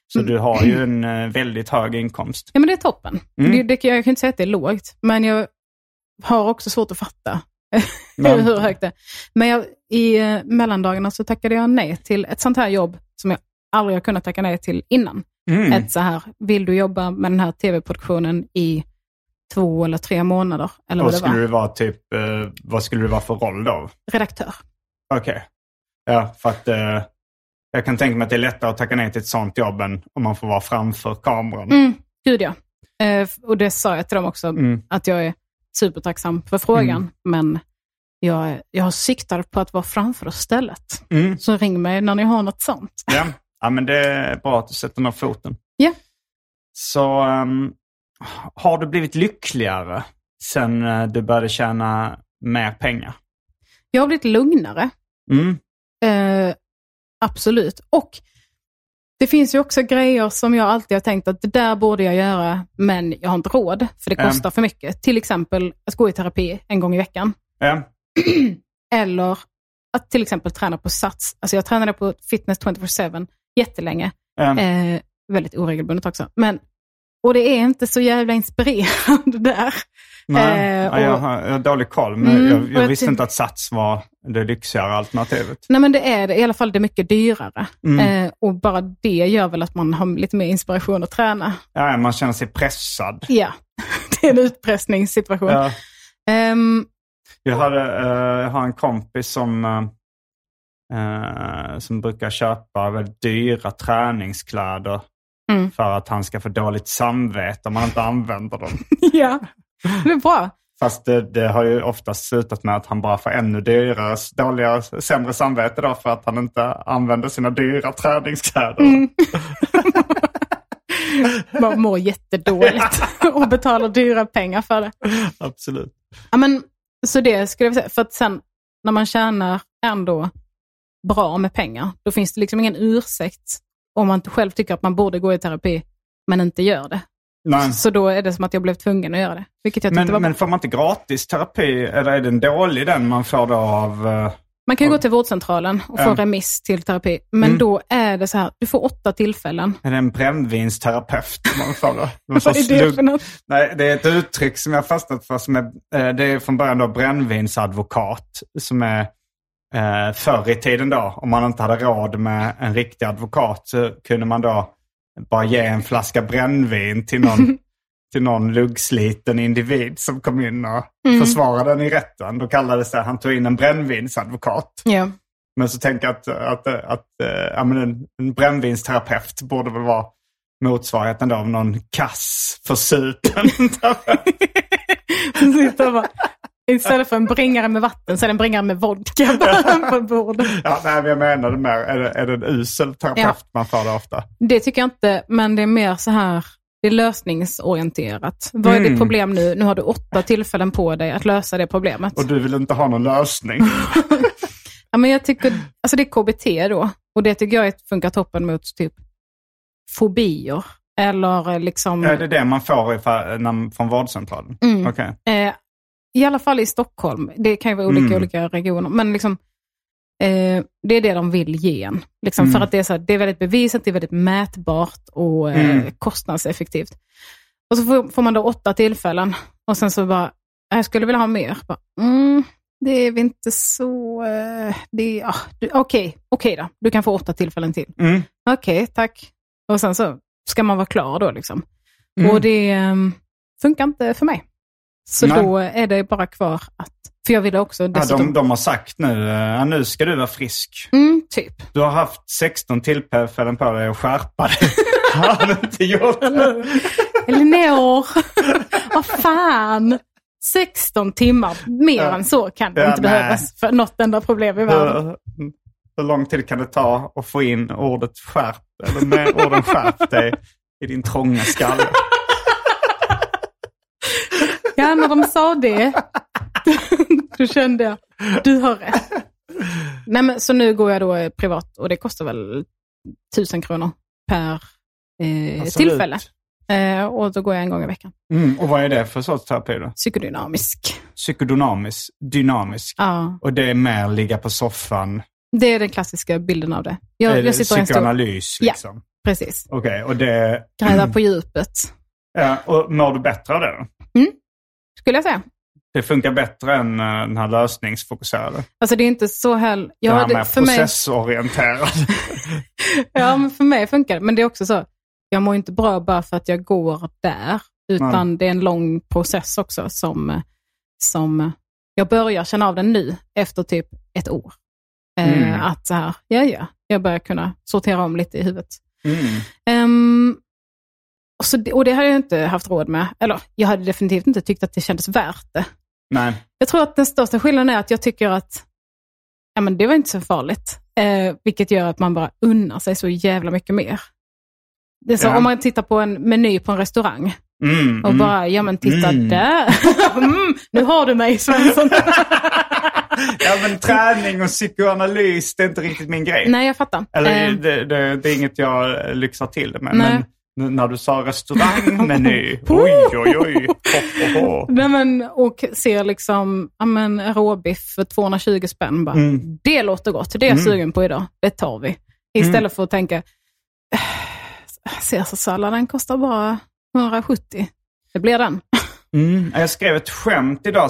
Speaker 2: Så du har ju en eh, väldigt hög inkomst.
Speaker 3: Ja, men det är toppen.
Speaker 2: Mm.
Speaker 3: Det, det, jag kan inte säga att det är lågt, men jag har också svårt att fatta
Speaker 2: Men-
Speaker 3: [LAUGHS] [LAUGHS] hur högt det är. Men jag, i eh, mellandagarna så tackade jag nej till ett sånt här jobb som jag aldrig har kunnat tacka nej till innan.
Speaker 2: Mm.
Speaker 3: Ett så här, vill du jobba med den här tv-produktionen i två eller tre månader? Eller
Speaker 2: Då
Speaker 3: vad det
Speaker 2: skulle
Speaker 3: var.
Speaker 2: du vara typ, eh, vad skulle du vara för roll då?
Speaker 3: Redaktör.
Speaker 2: Okej. Ja, för att eh, jag kan tänka mig att det är lättare att tacka nej till ett sånt jobb än om man får vara framför kameran.
Speaker 3: Mm, gud ja. Eh, och det sa jag till dem också,
Speaker 2: Mm.
Speaker 3: att jag är supertacksam för frågan, men jag, jag siktar på att vara framför oss stället.
Speaker 2: Mm.
Speaker 3: Så ring mig när ni har något sånt.
Speaker 2: Ja. ja, men det är bra att du sätter ner foten.
Speaker 3: Ja.
Speaker 2: Så ehm, har du blivit lyckligare sen eh, du började tjäna mer pengar?
Speaker 3: Jag har blivit lugnare,
Speaker 2: Mm.
Speaker 3: eh, absolut. Och det finns ju också grejer som jag alltid har tänkt att det där borde jag göra, men jag har inte råd, för det
Speaker 2: Mm.
Speaker 3: kostar för mycket. Till exempel att gå i terapi en gång i veckan. [CLEARS THROAT]
Speaker 2: Ja.
Speaker 3: Eller att till exempel träna på Sats. Alltså jag tränade på Fitness 24-7 jättelänge.
Speaker 2: Ja.
Speaker 3: Eh, väldigt oregelbundet också. Men, och det är inte så jävla inspirerande [LAUGHS] där.
Speaker 2: Nej,
Speaker 3: eh,
Speaker 2: ja, jag,
Speaker 3: och-
Speaker 2: har, jag har dålig koll, men
Speaker 3: Mm,
Speaker 2: jag,
Speaker 3: och
Speaker 2: jag
Speaker 3: jag
Speaker 2: visste
Speaker 3: ty-
Speaker 2: inte att Sats var det lyxigare alternativet.
Speaker 3: Nej men det är det. I alla fall det är mycket dyrare.
Speaker 2: Mm.
Speaker 3: Eh, och bara det gör väl att man har lite mer inspiration att träna.
Speaker 2: Ja, man känner sig pressad.
Speaker 3: Ja, [LAUGHS] det är en utpressningssituation.
Speaker 2: Ja.
Speaker 3: Ehm, [LAUGHS]
Speaker 2: Jag, hade, eh, jag har en kompis som, eh, eh, som brukar köpa väldigt dyra träningskläder
Speaker 3: Mm.
Speaker 2: för att han ska få dåligt samvete om han inte använder dem. [LAUGHS]
Speaker 3: ja, det är bra.
Speaker 2: Fast det, det har ju oftast slutat med att han bara får ännu dyrare, dåligare, sämre samvete då för att han inte använder sina dyra träningskläder.
Speaker 3: Mm. Man mår jättedåligt
Speaker 2: [LAUGHS]
Speaker 3: och betalar dyra pengar för det.
Speaker 2: Absolut.
Speaker 3: Ja, men, så det skulle jag säga. För att sen när man tjänar ändå bra med pengar, då finns det liksom ingen ursäkt om man inte själv tycker att man borde gå i terapi, men inte gör det.
Speaker 2: Nej.
Speaker 3: Så då är det som att jag blev tvungen att göra det. Vilket jag tyckte
Speaker 2: Mm. Men,
Speaker 3: var bra.
Speaker 2: men får man inte gratis terapi, eller är den dålig den man får då av eh,
Speaker 3: Man kan ju gå till vårdcentralen och få remiss till terapi. Men
Speaker 2: Mm.
Speaker 3: då är det så här, du får åtta tillfällen.
Speaker 2: Är det en brännvinsterapeut? Man får då? Någon
Speaker 3: [LAUGHS] Vad
Speaker 2: sorts
Speaker 3: är det
Speaker 2: lugn-
Speaker 3: för något?
Speaker 2: Nej, det är ett uttryck som jag har fastnat för. Som är, eh, det är från början då brännvinsadvokat. Som är eh, förr i tiden då, om man inte hade råd med en riktig advokat så kunde man då bara ge en flaska brännvin till någon, till någon luggsliten individ som kom in och försvarade den i rätten. Då kallades det, han tog in en brännvinsadvokat.
Speaker 3: [LAUGHS] Ja.
Speaker 2: Men så tänker jag att, att, att, eh, ja, men en, en brännvinsterapeut borde väl vara motsvarigheten då av någon kass, försupen terapeut.
Speaker 3: Sitta och bara, istället för en bringare med vatten så är det en bringare med vodka [LAUGHS] bara på bordet.
Speaker 2: ja, Nej, men jag menade mer, är det, är det en usel terapeut
Speaker 3: Ja.
Speaker 2: man får det ofta?
Speaker 3: Det tycker jag inte, men det är mer så här, det är lösningsorienterat. Vad är
Speaker 2: Mm.
Speaker 3: ditt problem nu? Nu har du åtta tillfällen på dig att lösa det problemet.
Speaker 2: Och du vill inte ha någon lösning?
Speaker 3: Ja, men jag tycker, alltså det är KBT då, och det tycker jag funkar toppen mot typ fobier. Eller liksom,
Speaker 2: Är det det man får ifall, när, från vårdcentralen?
Speaker 3: Mm.
Speaker 2: Okej.
Speaker 3: eh, i alla fall i Stockholm, det kan ju vara olika i
Speaker 2: Mm.
Speaker 3: olika regioner, men liksom, eh, det är det de vill ge en. Liksom,
Speaker 2: Mm.
Speaker 3: För att det är, så här, det är väldigt bevisat, det är väldigt mätbart och eh,
Speaker 2: Mm.
Speaker 3: kostnadseffektivt. Och så får, får man då åtta tillfällen och sen så bara, "Äh, jag skulle vilja ha mer. Bara, mm, det är väl inte så... eh, det- ja, du- Okej, okej då. Du kan få åtta tillfällen till.
Speaker 2: Mm.
Speaker 3: Okej, tack. Och sen så ska man vara klar då. liksom.
Speaker 2: Mm.
Speaker 3: Och det eh, funkar inte för mig. Så
Speaker 2: Nej.
Speaker 3: då är det bara kvar att... För jag ville också
Speaker 2: Ja,
Speaker 3: dessutom...
Speaker 2: de, de har sagt nu, eh, ja, nu ska du vara frisk.
Speaker 3: Mm, typ.
Speaker 2: Du har haft 16 tillfällen på dig att skärpa
Speaker 3: [LAUGHS]
Speaker 2: dig. [LAUGHS] har du inte gjort det? [LAUGHS]
Speaker 3: Elinor! Vad fan! 16 timmar. Mer
Speaker 2: Ja.
Speaker 3: än så kan det
Speaker 2: Ja,
Speaker 3: inte
Speaker 2: nej.
Speaker 3: behövas för något enda problem i världen.
Speaker 2: Hur, hur lång tid kan det ta att få in ordet skärp, eller med orden skärp dig i din trånga skalle?
Speaker 3: Ja, när de sa det, [LAUGHS] då kände jag, du har rätt. Nej, men, så nu går jag då eh, privat och det kostar väl tusen kronor per eh,
Speaker 2: Absolut.
Speaker 3: tillfälle. Eh, och då går jag en gång i veckan.
Speaker 2: Mm, och vad är det för sorts terapi då?
Speaker 3: Psykodynamisk.
Speaker 2: Psykodynamisk, dynamisk.
Speaker 3: Ja,
Speaker 2: Och det är mer ligga på soffan,
Speaker 3: det är den klassiska bilden av det. Jag,
Speaker 2: eh,
Speaker 3: jag sitter i en stor...
Speaker 2: psykoanalys
Speaker 3: Ja.
Speaker 2: liksom.
Speaker 3: Precis.
Speaker 2: Okej, och det...
Speaker 3: Gräva på djupet,
Speaker 2: Ja, och mår du bättre av det då?
Speaker 3: skulle jag säga.
Speaker 2: Det funkar bättre än eh, den här lösningsfokuserade.
Speaker 3: Alltså det är inte så heller...
Speaker 2: det
Speaker 3: Ja,
Speaker 2: här
Speaker 3: det,
Speaker 2: med
Speaker 3: för, mig,
Speaker 2: processorienterad.
Speaker 3: ja, men för mig funkar det. Men det är också så, jag mår inte bra bara för att jag går där. Utan det är en lång process också som, som jag börjar känna av den nu efter typ ett år.
Speaker 2: Mm.
Speaker 3: Eh, att så här, ja ja, jag börjar kunna sortera om lite i huvudet.
Speaker 2: Mm.
Speaker 3: Ehm, och, så, det- och det hade jag inte haft råd med. Eller jag hade definitivt inte tyckt att det kändes värt det.
Speaker 2: Nej.
Speaker 3: Jag tror att den största skillnaden är att jag tycker att ja, men det var inte så farligt. Eh, vilket gör att man bara unnar sig så jävla mycket mer. Det är så,
Speaker 2: Ja.
Speaker 3: Om man tittar på en meny på en restaurang
Speaker 2: Mm,
Speaker 3: och
Speaker 2: mm.
Speaker 3: bara, ja men titta
Speaker 2: Mm.
Speaker 3: där. [LAUGHS] mm, nu har du
Speaker 2: [LAUGHS]
Speaker 3: mig Svensson.
Speaker 2: Ja, men träning och psykoanalys, det är inte riktigt min grej.
Speaker 3: Nej, jag fattar.
Speaker 2: Eller
Speaker 3: Eh,
Speaker 2: det, det, det är inget jag eh, lyxar till det med.
Speaker 3: Nej.
Speaker 2: Men n- när du sa
Speaker 3: [LAUGHS]
Speaker 2: restaurangmeny, oj oj oj. Ho, ho, ho.
Speaker 3: Nej, men, och ser liksom ja, men, råbiff för 220 spänn. Bara,
Speaker 2: Mm.
Speaker 3: Det låter gott, det är jag sugen på idag. Det tar vi. Istället
Speaker 2: Mm.
Speaker 3: för att tänka, "Eh, caesarsalladen kostar bara 170. Det blir den.
Speaker 2: Mm. Jag skrev ett skämt idag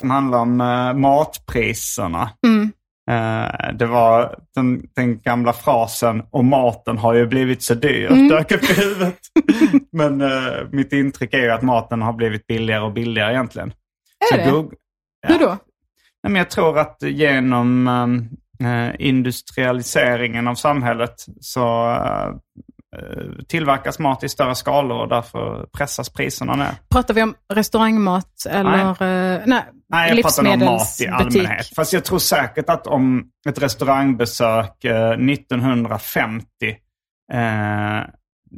Speaker 2: som handlar om eh, matpriserna.
Speaker 3: Mm.
Speaker 2: Eh, det var den, den gamla frasen och maten har ju blivit så dyr,
Speaker 3: Mm.
Speaker 2: dök upp i huvudet. [LAUGHS] Men eh, mitt intryck är ju att maten har blivit billigare och billigare egentligen.
Speaker 3: Är det?
Speaker 2: Goog-
Speaker 3: Hur då?
Speaker 2: Nej, men jag tror att genom eh, industrialiseringen av samhället så eh, tillverkas mat i större skalor och därför pressas priserna ner.
Speaker 3: Pratar vi om restaurangmat eller nej. nej,
Speaker 2: Nej, jag pratar om mat i
Speaker 3: livsmedelsbutik?
Speaker 2: allmänhet. Fast jag tror säkert att om ett restaurangbesök eh, 1950 eh,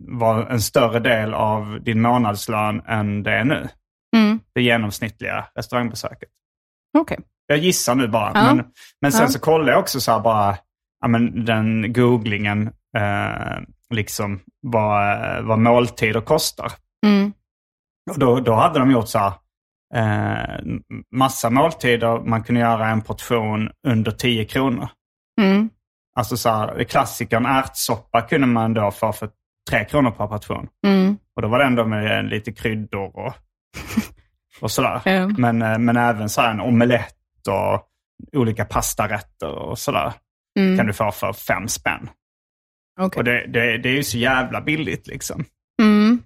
Speaker 2: var en större del av din månadslön än det är nu.
Speaker 3: Mm,
Speaker 2: Det genomsnittliga restaurangbesöket.
Speaker 3: Okej.
Speaker 2: Jag gissar nu bara.
Speaker 3: Ja.
Speaker 2: Men, men sen
Speaker 3: Ja.
Speaker 2: så kollade jag också så här bara, ja, men den googlingen, eh, liksom vad, vad måltider kostar.
Speaker 3: Mm.
Speaker 2: Och då, då hade de gjort så här, eh, massa måltider. Man kunde göra en portion under 10 kronor.
Speaker 3: Mm.
Speaker 2: Alltså så här, klassikern ärtsoppa kunde man då få för 3 kronor per portion.
Speaker 3: Mm.
Speaker 2: Och då var det ändå med eh, lite kryddor
Speaker 3: [LAUGHS]
Speaker 2: och, och sådär.
Speaker 3: Ja.
Speaker 2: Men, eh, men även så här en omelett och olika pastarätter och sådär
Speaker 3: Mm.
Speaker 2: kan du få för fem spänn.
Speaker 3: Okej.
Speaker 2: Och det, det, det är ju så jävla billigt liksom.
Speaker 3: Mm.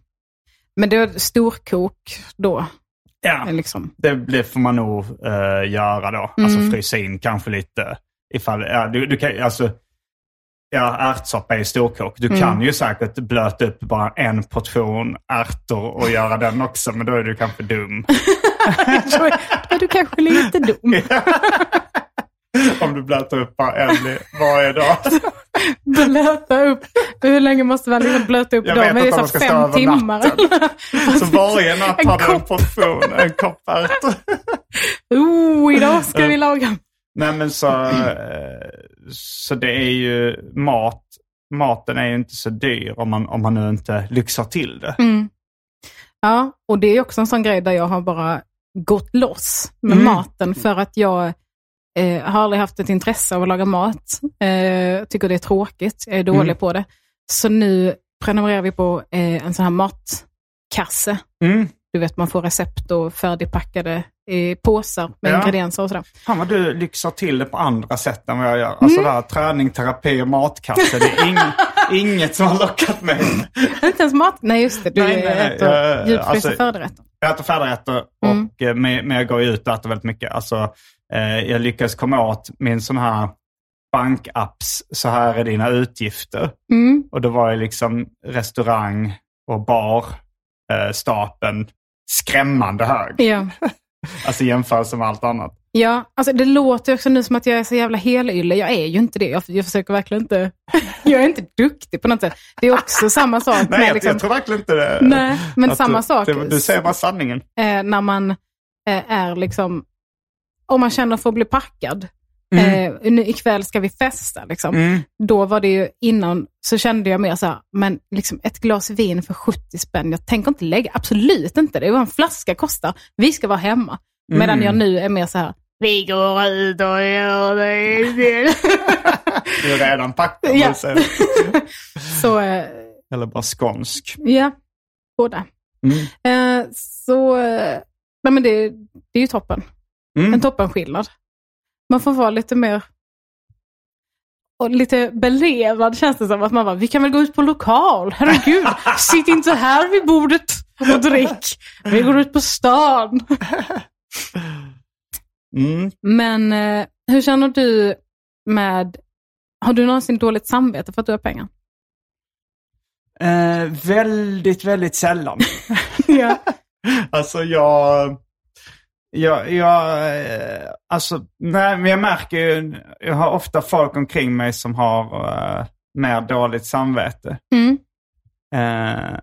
Speaker 3: Men det är storkok då,
Speaker 2: Ja.
Speaker 3: liksom.
Speaker 2: Det blir, får man nog eh, göra då.
Speaker 3: Mm.
Speaker 2: Alltså frysa in kanske lite. Ifall, ja, du, du kan, alltså, ja, ärtsoppa är ju storkok. Du
Speaker 3: Mm.
Speaker 2: kan ju säkert blöta upp bara en portion ärtor och göra den också, men då är du kanske
Speaker 3: [LAUGHS]
Speaker 2: dum.
Speaker 3: Ja, du kanske är lite dum.
Speaker 2: [LAUGHS] Om du blöter upp bara en i- varje dag.
Speaker 3: Blöta upp. Hur länge måste man liksom blöta upp
Speaker 2: Jag
Speaker 3: dem?
Speaker 2: vet
Speaker 3: Men det är
Speaker 2: inte om man
Speaker 3: så
Speaker 2: ska
Speaker 3: här
Speaker 2: stå
Speaker 3: fem
Speaker 2: över
Speaker 3: timmar.
Speaker 2: Så varje natt
Speaker 3: En
Speaker 2: har du en
Speaker 3: kopp.
Speaker 2: portion,
Speaker 3: [LAUGHS]
Speaker 2: en kopp ärtor.
Speaker 3: oh, idag ska vi laga.
Speaker 2: Nej men så, eh, så det är ju mat. Maten är ju inte så dyr om man, om man nu inte lyxar till det.
Speaker 3: Mm. Ja, och det är också en sån grej där jag har bara gått loss med maten för att jag eh, har aldrig haft ett intresse av att laga mat. Eh, tycker det är tråkigt, jag är dålig på det. Så nu prenumererar vi på eh, en sån här matkasse.
Speaker 2: Mm.
Speaker 3: Du vet, man får recept och färdigpackade eh, påsar med
Speaker 2: Ja.
Speaker 3: ingredienser och sådär.
Speaker 2: Fan vad du lyxar till det på andra sätt än vad jag gör.
Speaker 3: Mm.
Speaker 2: Alltså det här träning, terapi och matkasse. Det är
Speaker 3: [LAUGHS]
Speaker 2: ing, inget som har lockat mig.
Speaker 3: Inte ens mat. Nej, just det. Du
Speaker 2: Nej, nej, nej.
Speaker 3: äter
Speaker 2: Eh,
Speaker 3: djupfrysta
Speaker 2: alltså-
Speaker 3: förrätter.
Speaker 2: Jag äter färdigrätter, och,
Speaker 3: Mm.
Speaker 2: eh, men, men jag går ju ut och äter väldigt mycket. Alltså, eh, jag lyckas komma åt min sån här bankapps, så här är dina utgifter.
Speaker 3: Mm.
Speaker 2: Och då var jag liksom restaurang och bar, eh, stapeln, skrämmande hög.
Speaker 3: Ja.
Speaker 2: Alltså i jämförelse med allt annat.
Speaker 3: Ja, alltså det låter ju också nu som att jag är så jävla helylle. Jag är ju inte det. Jag, jag försöker verkligen inte... [LAUGHS] Jag är inte duktig på något sätt. Det är också samma sak.
Speaker 2: Nej,
Speaker 3: med
Speaker 2: jag,
Speaker 3: liksom,
Speaker 2: jag tror verkligen inte det.
Speaker 3: Nej, men
Speaker 2: Att
Speaker 3: samma
Speaker 2: du,
Speaker 3: sak.
Speaker 2: Du, du säger bara sanningen.
Speaker 3: eh, när man eh, är liksom... Om man känner för att bli packad.
Speaker 2: Mm.
Speaker 3: Eh, nu ikväll ska vi festa. Liksom. Då var det ju innan, så kände jag mer så här, men liksom ett glas vin för 70 spänn, jag tänker inte lägga, absolut inte. Det är vad en flaska kostar. Vi ska vara hemma.
Speaker 2: Mm.
Speaker 3: Medan jag nu är mer så här, vi går ut och gör det.
Speaker 2: Du är redan packad.
Speaker 3: [LAUGHS] Ja.
Speaker 2: du säger.
Speaker 3: [LAUGHS] så, eh,
Speaker 2: Eller bara skånsk.
Speaker 3: ja, båda.
Speaker 2: Mm.
Speaker 3: Eh, så, eh, nej men det, det är ju toppen.
Speaker 2: Mm.
Speaker 3: En toppenskillnad. Man får vara lite mer och lite belevad känns det som. Att man bara, vi kan väl gå ut på
Speaker 2: [LAUGHS]
Speaker 3: lokal? Herregud, sitt inte här vid bordet och drick. Vi går ut på stan.
Speaker 2: Mm.
Speaker 3: Men eh, hur känner du med... Har du någonsin dåligt samvete för att du har pengar?
Speaker 2: Eh, väldigt, väldigt sällan.
Speaker 3: Ja.
Speaker 2: [LAUGHS] Alltså jag... Jag, jag, eh, alltså, nej, men jag märker ju, jag har ofta folk omkring mig som har eh, mer dåligt samvete.
Speaker 3: Mm.
Speaker 2: eh,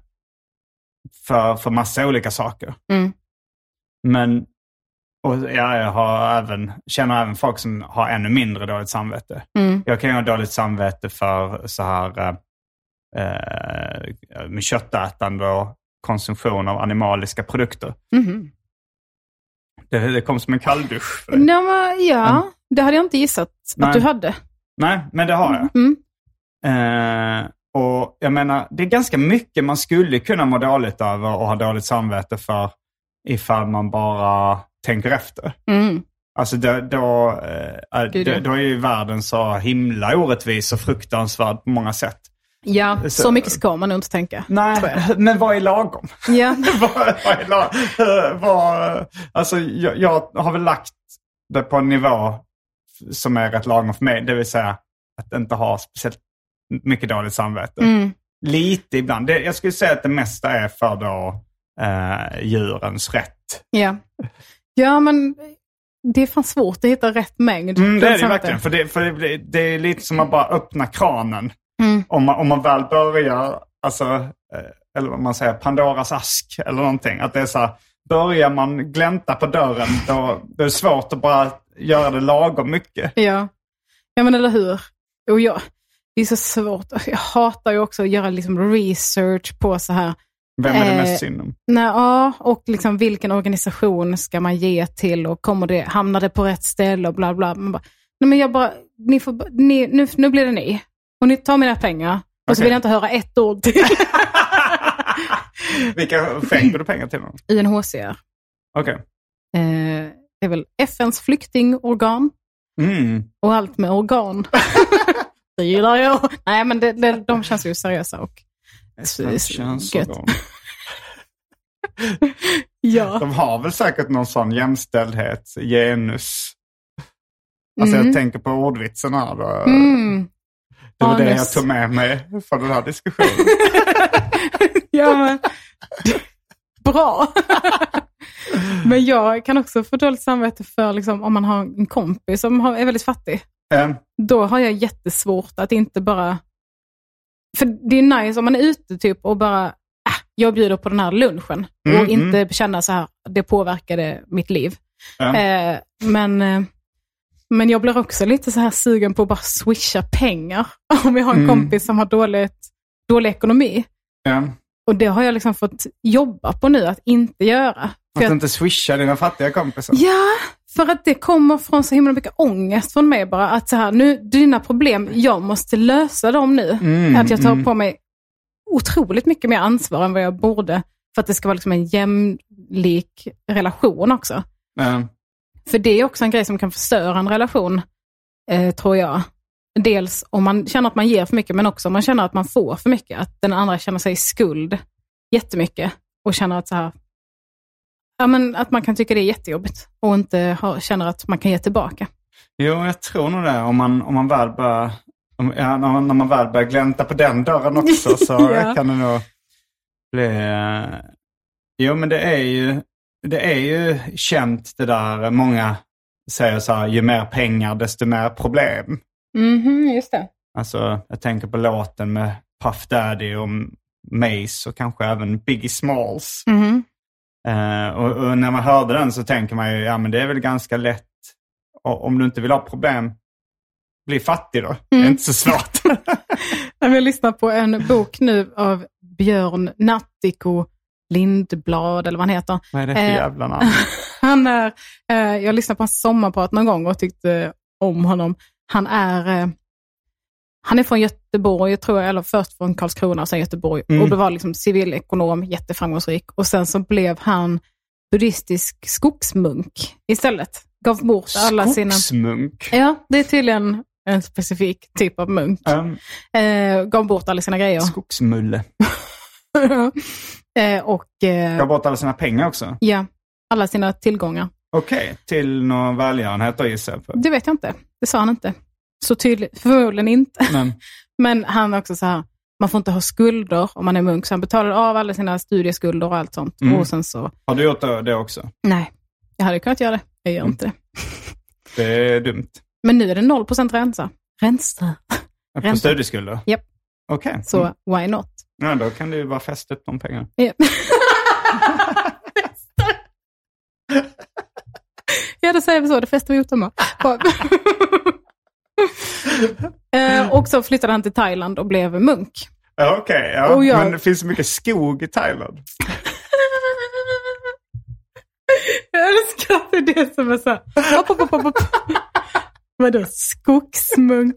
Speaker 2: för, för massa olika saker.
Speaker 3: Mm.
Speaker 2: Men och ja, jag har även, känner även folk som har ännu mindre dåligt samvete.
Speaker 3: Mm.
Speaker 2: Jag kan ju ha dåligt samvete för så här eh, eh, med köttätande och konsumtion av animaliska produkter.
Speaker 3: Mhm.
Speaker 2: Det, det kom som en kalldusch. för dig.
Speaker 3: Nej, men, ja, det hade jag inte gissat
Speaker 2: Nej.
Speaker 3: att du hade.
Speaker 2: Nej, men det har jag.
Speaker 3: Mm.
Speaker 2: Eh, och jag menar, det är ganska mycket man skulle kunna må dåligt över och ha dåligt samvete för ifall man bara tänker efter.
Speaker 3: Mm.
Speaker 2: Alltså då, då, eh, eh,
Speaker 3: Gud, ja.
Speaker 2: då, då är ju världen så himla orättvis och fruktansvärd på många sätt.
Speaker 3: Ja,
Speaker 2: Så-
Speaker 3: så mycket ska man nog inte tänka.
Speaker 2: Nej, men vad är lagom?
Speaker 3: Ja.
Speaker 2: [LAUGHS] vad, vad är la, eh, vad, alltså, jag, jag har väl lagt det på en nivå som är rätt lagom för mig. Det vill säga att inte ha speciellt mycket dåligt samvete.
Speaker 3: Mm.
Speaker 2: Lite ibland. Det, jag skulle säga att det mesta är för då, eh, djurens rätt.
Speaker 3: Ja. ja, men det är fan svårt att hitta rätt mängd.
Speaker 2: Mm, det är det ju
Speaker 3: samvete.
Speaker 2: verkligen. För det, för det, blir- det är lite som att bara öppna kranen.
Speaker 3: Mm.
Speaker 2: Om, man, om man väl börjar, alltså, eh, eller vad man säger, Pandoras ask eller någonting. Att det är så här, börjar man glänta på dörren då, då är det svårt att bara göra det lagom mycket.
Speaker 3: Ja. ja, men eller hur. Och jag, det är så svårt. Jag hatar ju också att göra liksom research på så här.
Speaker 2: Vem är det
Speaker 3: Eh,
Speaker 2: mest synd om? [LAUGHS]
Speaker 3: Nej, ja, och liksom vilken organisation ska man ge till och kommer det, hamnar det på rätt ställe och bla bla. Man bara, nej men jag bara, ni får, bara- ni, nu, nu blir det ni. Och ni tar mina pengar. Och så
Speaker 2: Okej.
Speaker 3: vill jag inte höra ett ord till [LAUGHS]
Speaker 2: Vilka skänker du pengar till dem?
Speaker 3: UNHCR.
Speaker 2: Okej.
Speaker 3: Eh, det är väl FNs flyktingorgan
Speaker 2: Mm.
Speaker 3: och allt med [LAUGHS] organ. det gillar jag. Nej, men det, det, de känns ju seriösa och
Speaker 2: FNs könsorgan.
Speaker 3: Ja.
Speaker 2: De har väl säkert någon sån jämställdhet, genus. Alltså
Speaker 3: Mm.
Speaker 2: jag tänker på ordvitsen här. Då.
Speaker 3: Mm.
Speaker 2: Det var det jag
Speaker 3: Anus.
Speaker 2: tog med mig från den här
Speaker 3: [LAUGHS]
Speaker 2: diskussionen.
Speaker 3: ja men. [LAUGHS] Bra. men jag kan också få dåligt samvete för liksom, om man har en kompis som har, är väldigt fattig.
Speaker 2: Eh,
Speaker 3: Då har jag jättesvårt att inte bara... För det är nice om man är ute typ och bara, ah, jag bjuder på den här lunchen. och
Speaker 2: Mm,
Speaker 3: inte känna så här, det påverkade mitt liv.
Speaker 2: Ja.
Speaker 3: Eh, men, eh, men jag blir också lite så här sugen på att bara swisha pengar. [LAUGHS] Om jag har en
Speaker 2: Mm.
Speaker 3: kompis som har dåligt, dålig ekonomi.
Speaker 2: ja.
Speaker 3: Och det har jag liksom fått jobba på nu, att inte göra. För
Speaker 2: Att
Speaker 3: jag,
Speaker 2: inte swisha dina fattiga kompisar.
Speaker 3: ja, för att det kommer från så himla mycket ångest från mig bara. Att så här, nu, dina problem, jag måste lösa dem nu.
Speaker 2: Mm,
Speaker 3: att jag tar
Speaker 2: mm.
Speaker 3: på mig otroligt mycket mer ansvar än vad jag borde. För att det ska vara liksom en jämlik relation också.
Speaker 2: Eh,
Speaker 3: För det är också en grej som kan förstöra en relation, eh, tror jag. Dels om man känner att man ger för mycket, men också om man känner att man får för mycket. Att den andra känner sig i skuld jättemycket och känner att så här, ja, men att man kan tycka det är jättejobbigt och inte ha, känner att man kan ge tillbaka.
Speaker 2: Jo, jag tror nog det. Om man, om man väl börjar om, ja, när, man, när man väl börjar glänta på den dörren också så
Speaker 3: [LAUGHS] Ja.
Speaker 2: kan det nog bli... eh, Jo, men det är ju, det är ju känt det där. Många säger så här, ju mer pengar desto mer problem.
Speaker 3: Mhm, just det.
Speaker 2: Alltså, jag tänker på låten med Puff Daddy och Mace och kanske även Biggie Smalls.
Speaker 3: Mhm.
Speaker 2: Eh, och, och när man hörde den så tänker man ju, ja men det är väl ganska lätt. Och, om du inte vill ha problem, bli fattig då. Det
Speaker 3: Mm.
Speaker 2: är inte så svårt.
Speaker 3: [LAUGHS] Jag vill lyssna på en bok nu av Björn Nattiko Lindblad, eller vad han heter.
Speaker 2: Vad är det för
Speaker 3: Eh.
Speaker 2: jävla namn?
Speaker 3: [LAUGHS] Han är, eh, jag lyssnade på hans sommarprat någon gång och tyckte eh, om honom. Han är, eh, han är från Göteborg, tror jag, eller först från Karlskrona och sen Göteborg.
Speaker 2: Mm.
Speaker 3: Och det var liksom civilekonom, jätteframgångsrik. Och sen så blev han buddhistisk skogsmunk istället. Gav bort alla sina...
Speaker 2: Skogsmunk.
Speaker 3: Ja, det är tydligen en specifik typ av munk.
Speaker 2: Ehm,
Speaker 3: Eh, gav bort alla sina grejer.
Speaker 2: skogsmulle.
Speaker 3: eh, och eh, [LAUGHS]
Speaker 2: Gav bort alla sina pengar också.
Speaker 3: ja, alla eh, sina tillgångar.
Speaker 2: Okej, till någon välgörenhet då gissar jag på.
Speaker 3: Det vet jag inte. Det sa han inte. Så tydligt, förmodligen inte. [LAUGHS]
Speaker 2: Men,
Speaker 3: Men han är också så här, man får inte ha skulder om man är munk, så han betalade av alla sina studieskulder och allt sånt.
Speaker 2: Mm.
Speaker 3: Och sen så,
Speaker 2: har du gjort det också?
Speaker 3: nej, jag hade kunnat göra det. Jag gör inte det.
Speaker 2: Det är dumt.
Speaker 3: Men nu är det 0% rensa. Rensa.
Speaker 2: På
Speaker 3: Ränta.
Speaker 2: studieskulder?
Speaker 3: Japp.
Speaker 2: Okej.
Speaker 3: Så why not?
Speaker 2: Ja, då kan du ju bara fästa upp de pengarna.
Speaker 3: Ja. ja, det säger vi så. Det fäster vi utomlands. Eh, och så flyttade han till Thailand och blev munk.
Speaker 2: Ja, Okej, ja.
Speaker 3: Och jag-
Speaker 2: men det finns mycket skog i Thailand.
Speaker 3: Jag älskar att det är det som är så här. Hopp, hopp, hopp, hopp, hopp. Vadå skogsmunk?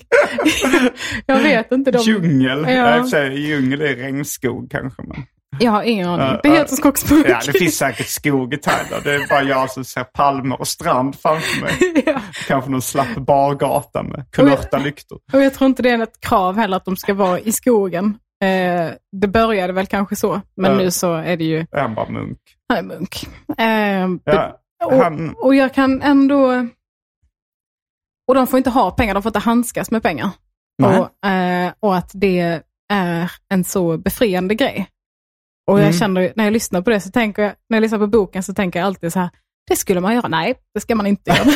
Speaker 3: Jag vet inte. De...
Speaker 2: Djungel.
Speaker 3: Ja.
Speaker 2: Ja. i och för sig, Djungel är regnskog kanske. Men...
Speaker 3: Jag har ingen aning.
Speaker 2: Ja,
Speaker 3: Det
Speaker 2: ja.
Speaker 3: heter skogsmunk.
Speaker 2: Ja, det finns säkert skog i Thailand. Det är bara jag som ser palmer och strand framför mig.
Speaker 3: [LAUGHS] Ja.
Speaker 2: Kanske någon slapp bargata med kulörta lyktor.
Speaker 3: Och jag tror inte det är något krav heller att de ska vara i skogen. Eh, det började väl kanske så, men
Speaker 2: Ja.
Speaker 3: nu så är det ju,
Speaker 2: Han bara munk.
Speaker 3: han är munk. Eh,
Speaker 2: Ja,
Speaker 3: och,
Speaker 2: han,
Speaker 3: och jag kan ändå... Och de får inte ha pengar, de får inte handskas med pengar.
Speaker 2: Nej.
Speaker 3: Och, eh, och att det är en så befriande grej. Och jag
Speaker 2: Mm.
Speaker 3: känner, när jag lyssnar på det, så tänker jag, när jag lyssnar på boken så tänker jag alltid så här, det skulle man göra. Nej, det ska man
Speaker 2: [LAUGHS]
Speaker 3: inte göra.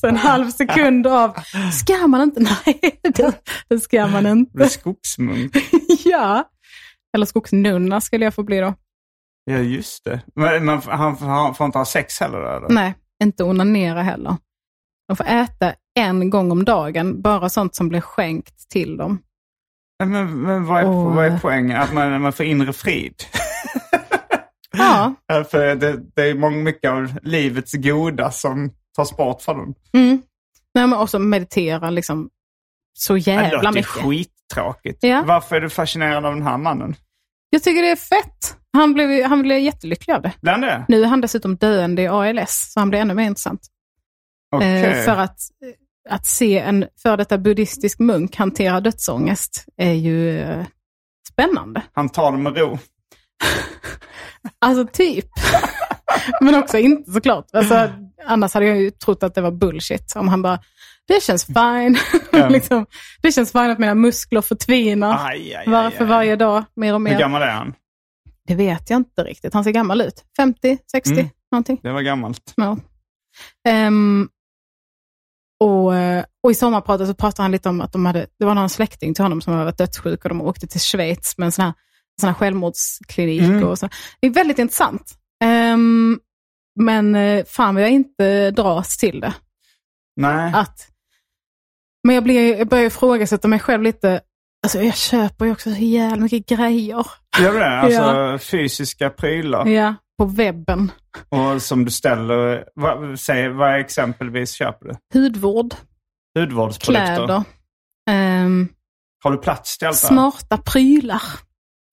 Speaker 3: så en halv sekund av, ska man inte? Nej, [LAUGHS] det, det ska man
Speaker 2: blev
Speaker 3: inte.
Speaker 2: skogsmunk.
Speaker 3: ja. Eller skogsnunna skulle jag få bli då.
Speaker 2: Ja, just det. Men, men han, han får inte ha sex heller? Eller?
Speaker 3: Nej, inte onanera heller. De får äta en gång om dagen, bara sånt som blir skänkt till dem.
Speaker 2: Men, men vad, är,
Speaker 3: Åh.
Speaker 2: vad är poängen? Att man, man får inre frid?
Speaker 3: Ja,
Speaker 2: Ja, Eh, För det, det är många, mycket av livets goda som tas bort från dem.
Speaker 3: mm. Nej, men också meditera liksom så
Speaker 2: det
Speaker 3: jävla
Speaker 2: låter ju
Speaker 3: mycket.
Speaker 2: skittråkigt.
Speaker 3: Ja.
Speaker 2: Varför är du fascinerad av den här mannen?
Speaker 3: Jag tycker det är fett. Han blev, ju- han blev jättelycklig av det.
Speaker 2: Bland det?
Speaker 3: Nu är han dessutom döende i ALS, så han blir ännu mer intressant.
Speaker 2: Okej.
Speaker 3: Eh, för att, eh, att se en före detta buddhistisk munk hantera dödsångest är ju eh, spännande.
Speaker 2: Han tar det med ro.
Speaker 3: Alltså typ. [LAUGHS] Men också inte såklart. Alltså, annars hade jag ju trott att det var bullshit. Om han bara, det känns fine. [LAUGHS]
Speaker 2: Ja. Ah,
Speaker 3: liksom, det känns fine att mina muskler förtvinar
Speaker 2: Aj, aj, aj,
Speaker 3: var, för
Speaker 2: aj.
Speaker 3: varje dag, mer och
Speaker 2: Hur
Speaker 3: mer.
Speaker 2: gammal är han?
Speaker 3: Det vet jag inte riktigt. Han ser gammal ut. 50, 60,
Speaker 2: Mm.
Speaker 3: någonting.
Speaker 2: Det var gammalt.
Speaker 3: Ja. Ehm, och, eh, och i sommarpratet så pratade han lite om att de hade, det var någon släkting till honom som hade varit dödssjuk och de åkte till Schweiz med en sån här, sån här självmordsklinik.
Speaker 2: Mm.
Speaker 3: Och så. Det är väldigt intressant. Ehm, men eh, fan vad jag inte dras till det.
Speaker 2: Nej.
Speaker 3: Att, men jag, blir, jag börjar ifrågasätta mig själv lite. Alltså jag köper ju också så jävla mycket grejer
Speaker 2: Gör det? Alltså
Speaker 3: [LAUGHS] Ja.
Speaker 2: fysiska prylar.
Speaker 3: ja. på webben.
Speaker 2: Och som du ställer... Vad, säg, vad exempelvis köper du?
Speaker 3: Hudvård,
Speaker 2: Hudvårdsprodukter?
Speaker 3: kläder. Ehm,
Speaker 2: Har du plats till allt det här?
Speaker 3: Smarta prylar.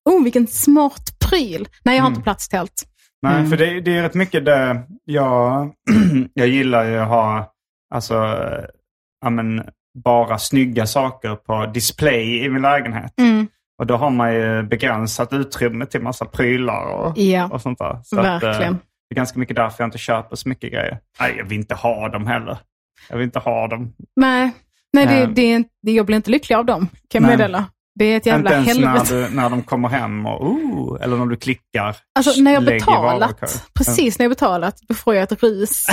Speaker 3: Oh, vilken smart pryl. Nej,
Speaker 2: Mm.
Speaker 3: jag har inte plats till allt.
Speaker 2: Nej,
Speaker 3: Mm.
Speaker 2: för det, det är rätt mycket det jag, [CLEARS THROAT] jag gillar ju att ha, alltså, eh, ja men, bara snygga saker på display i min lägenhet.
Speaker 3: Mm.
Speaker 2: Och då har man ju begränsat utrymme till massa prylar och,
Speaker 3: Ja.
Speaker 2: och sånt där. Så
Speaker 3: Verkligen.
Speaker 2: eh, det är ganska mycket därför jag inte köper så mycket grejer. Nej, jag vill inte ha dem heller. Jag vill inte ha dem.
Speaker 3: Nej, nej det,
Speaker 2: Eh.
Speaker 3: det, är inte- det, jag blir inte lycklig av dem, kan jag
Speaker 2: Nej.
Speaker 3: meddela. Det är ett jävla
Speaker 2: inte ens
Speaker 3: helvete.
Speaker 2: när, du, när de kommer hem och oh, eller när du klickar.
Speaker 3: Alltså när jag
Speaker 2: lägg i
Speaker 3: betalat,
Speaker 2: varukorgen.
Speaker 3: precis när jag betalat, då får jag
Speaker 2: [LAUGHS]
Speaker 3: ett rus.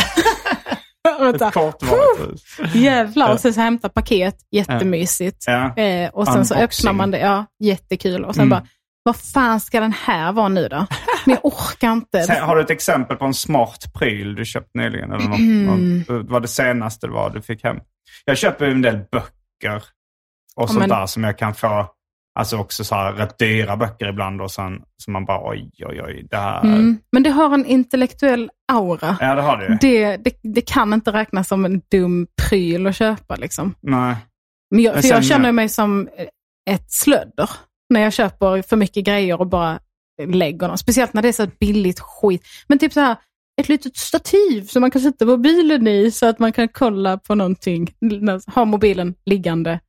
Speaker 3: Vänta.
Speaker 2: Ett kortvarigt hus.
Speaker 3: Jävlar, och sen så hämta paket, jättemysigt.
Speaker 2: Ja.
Speaker 3: Eh, och sen så
Speaker 2: Unboxing.
Speaker 3: öppnar man det, ja, jättekul. Och sen
Speaker 2: Mm.
Speaker 3: bara, vad fan ska den här vara nu då? Men jag
Speaker 2: [LAUGHS]
Speaker 3: orkar inte.
Speaker 2: Sen, har du ett exempel på en smart pryl du köpt nyligen? Eller
Speaker 3: Mm.
Speaker 2: någon, någon, vad det senaste det var du fick hem? Jag köper ju en del böcker och sånt
Speaker 3: men-
Speaker 2: där som jag kan få. Alltså också så här rätt dyra böcker ibland och sen som man bara oj, oj, oj, det här.
Speaker 3: Mm. Men det har en intellektuell aura.
Speaker 2: Ja, det har du ju.
Speaker 3: Det, det, det kan inte räknas som en dum pryl att köpa. Liksom.
Speaker 2: Nej.
Speaker 3: Men jag,
Speaker 2: Men
Speaker 3: för jag
Speaker 2: sen-
Speaker 3: känner mig som eh, ett slödder när jag köper för mycket grejer och bara lägger dem. Speciellt när det är så billigt skit. Men typ så här, ett litet stativ som man kan sätta mobilen i så att man kan kolla på någonting. Ha mobilen liggande.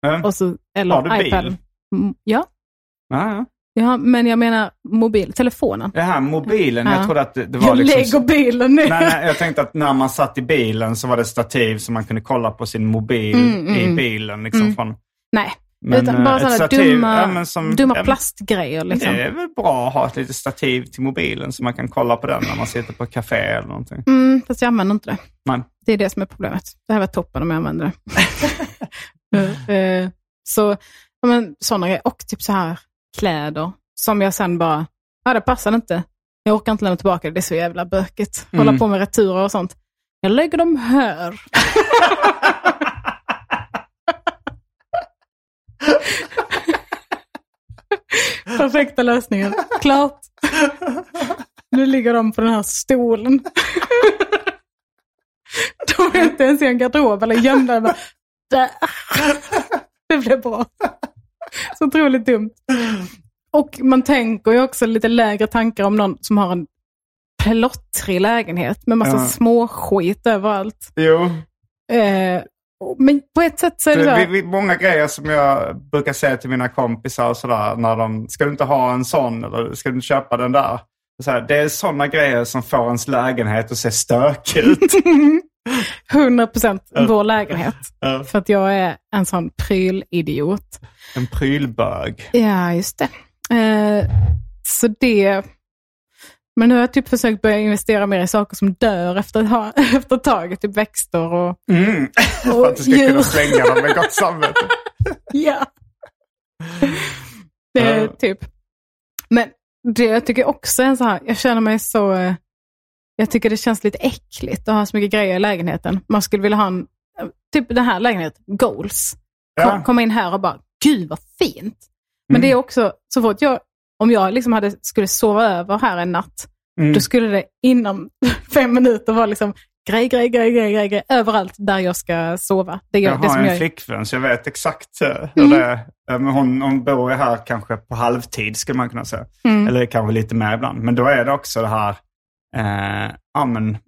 Speaker 2: Ja.
Speaker 3: Och så, eller
Speaker 2: Har du bil?
Speaker 3: iPaden. Mm, Ja,
Speaker 2: Ja, ja.
Speaker 3: Ja, men jag menar mobil, telefonen.
Speaker 2: Det här mobilen,
Speaker 3: Ja.
Speaker 2: jag trodde att det, det var
Speaker 3: Jag
Speaker 2: liksom...
Speaker 3: lägger bilen nu.
Speaker 2: Nej, nej, jag tänkte att när man satt i bilen så var det stativ så man kunde kolla på sin mobil
Speaker 3: Mm,
Speaker 2: i bilen. Liksom, från,
Speaker 3: [LAUGHS] Nej,
Speaker 2: Men,
Speaker 3: Mm. utan bara
Speaker 2: eh, ett
Speaker 3: sådana
Speaker 2: stativ,
Speaker 3: dumma,
Speaker 2: ja, men som-
Speaker 3: dumma
Speaker 2: ja, men-
Speaker 3: plastgrejer. Liksom.
Speaker 2: Det är väl bra att ha ett litet stativ till mobilen så man kan kolla på den när man sitter på ett café eller någonting.
Speaker 3: Mm, fast jag använder inte det.
Speaker 2: Nej.
Speaker 3: Det är det som är problemet. Det här var toppen om
Speaker 2: [LAUGHS]
Speaker 3: jag använde det. Eh, så, ja, men, sådana grejer. Och typ så här kläder som jag sen bara, ja det passar inte. Jag orkar inte lämna tillbaka det, det är så jävla bökigt.
Speaker 2: Mm.
Speaker 3: Hålla på med returer och sånt. Jag lägger dem här. Perfekta lösningen. Klart. Nu ligger de på den här stolen. De är inte ens i en garderob eller gömda. De bara, Där. Det blev bra. Så otroligt dumt. Och man tänker ju också lite lägre tankar om någon som har en plottrig lägenhet med massa
Speaker 2: Ja.
Speaker 3: små skit överallt.
Speaker 2: Jo,
Speaker 3: Eh, och- men på ett sätt så är det så
Speaker 2: det, vi,
Speaker 3: här,
Speaker 2: vi, många grejer som jag brukar säga till mina kompisar och sådär när de, ska du inte ha en sån eller ska du inte köpa den där? Så här, det är sådana grejer som får ens lägenhet att se stökig [LAUGHS] ut.
Speaker 3: 100% vår lägenhet.
Speaker 2: Ja.
Speaker 3: För att jag är en sån prylidiot.
Speaker 2: en prylbög.
Speaker 3: Ja, just det. Eh, så det... Men nu har jag typ försökt börja investera mer i saker som dör efter ett, ha- [LAUGHS] efter ett tag. Typ växter och,
Speaker 2: Mm. [LAUGHS] För
Speaker 3: och
Speaker 2: att du ska
Speaker 3: djur. [LAUGHS]
Speaker 2: kunna slänga dem med gott [LAUGHS] samvete.
Speaker 3: Ja. Det är
Speaker 2: Ja.
Speaker 3: typ. Men det jag tycker också är en så här, jag känner mig så, eh, jag tycker det känns lite äckligt att ha så mycket grejer i lägenheten. Man skulle vilja ha en, typ den här lägenheten, goals. Kom,
Speaker 2: Ja.
Speaker 3: Komma in här och bara, gud vad fint. Men
Speaker 2: Mm.
Speaker 3: det är också, så fort jag, om jag liksom hade, skulle sova över här en natt,
Speaker 2: Mm.
Speaker 3: då skulle det inom [LAUGHS] fem minuter vara liksom grej, grej, grej, grej, grej, grej överallt där jag ska sova. Det, är
Speaker 2: Jag har
Speaker 3: det som
Speaker 2: en
Speaker 3: jag, Mm.
Speaker 2: flickvän så jag vet exakt eh, hur det är. Eh, Men hon, hon bor ju här kanske på halvtid skulle man kunna säga.
Speaker 3: Mm.
Speaker 2: Eller kanske lite mer ibland. Men då är det också det här, eh, ja men,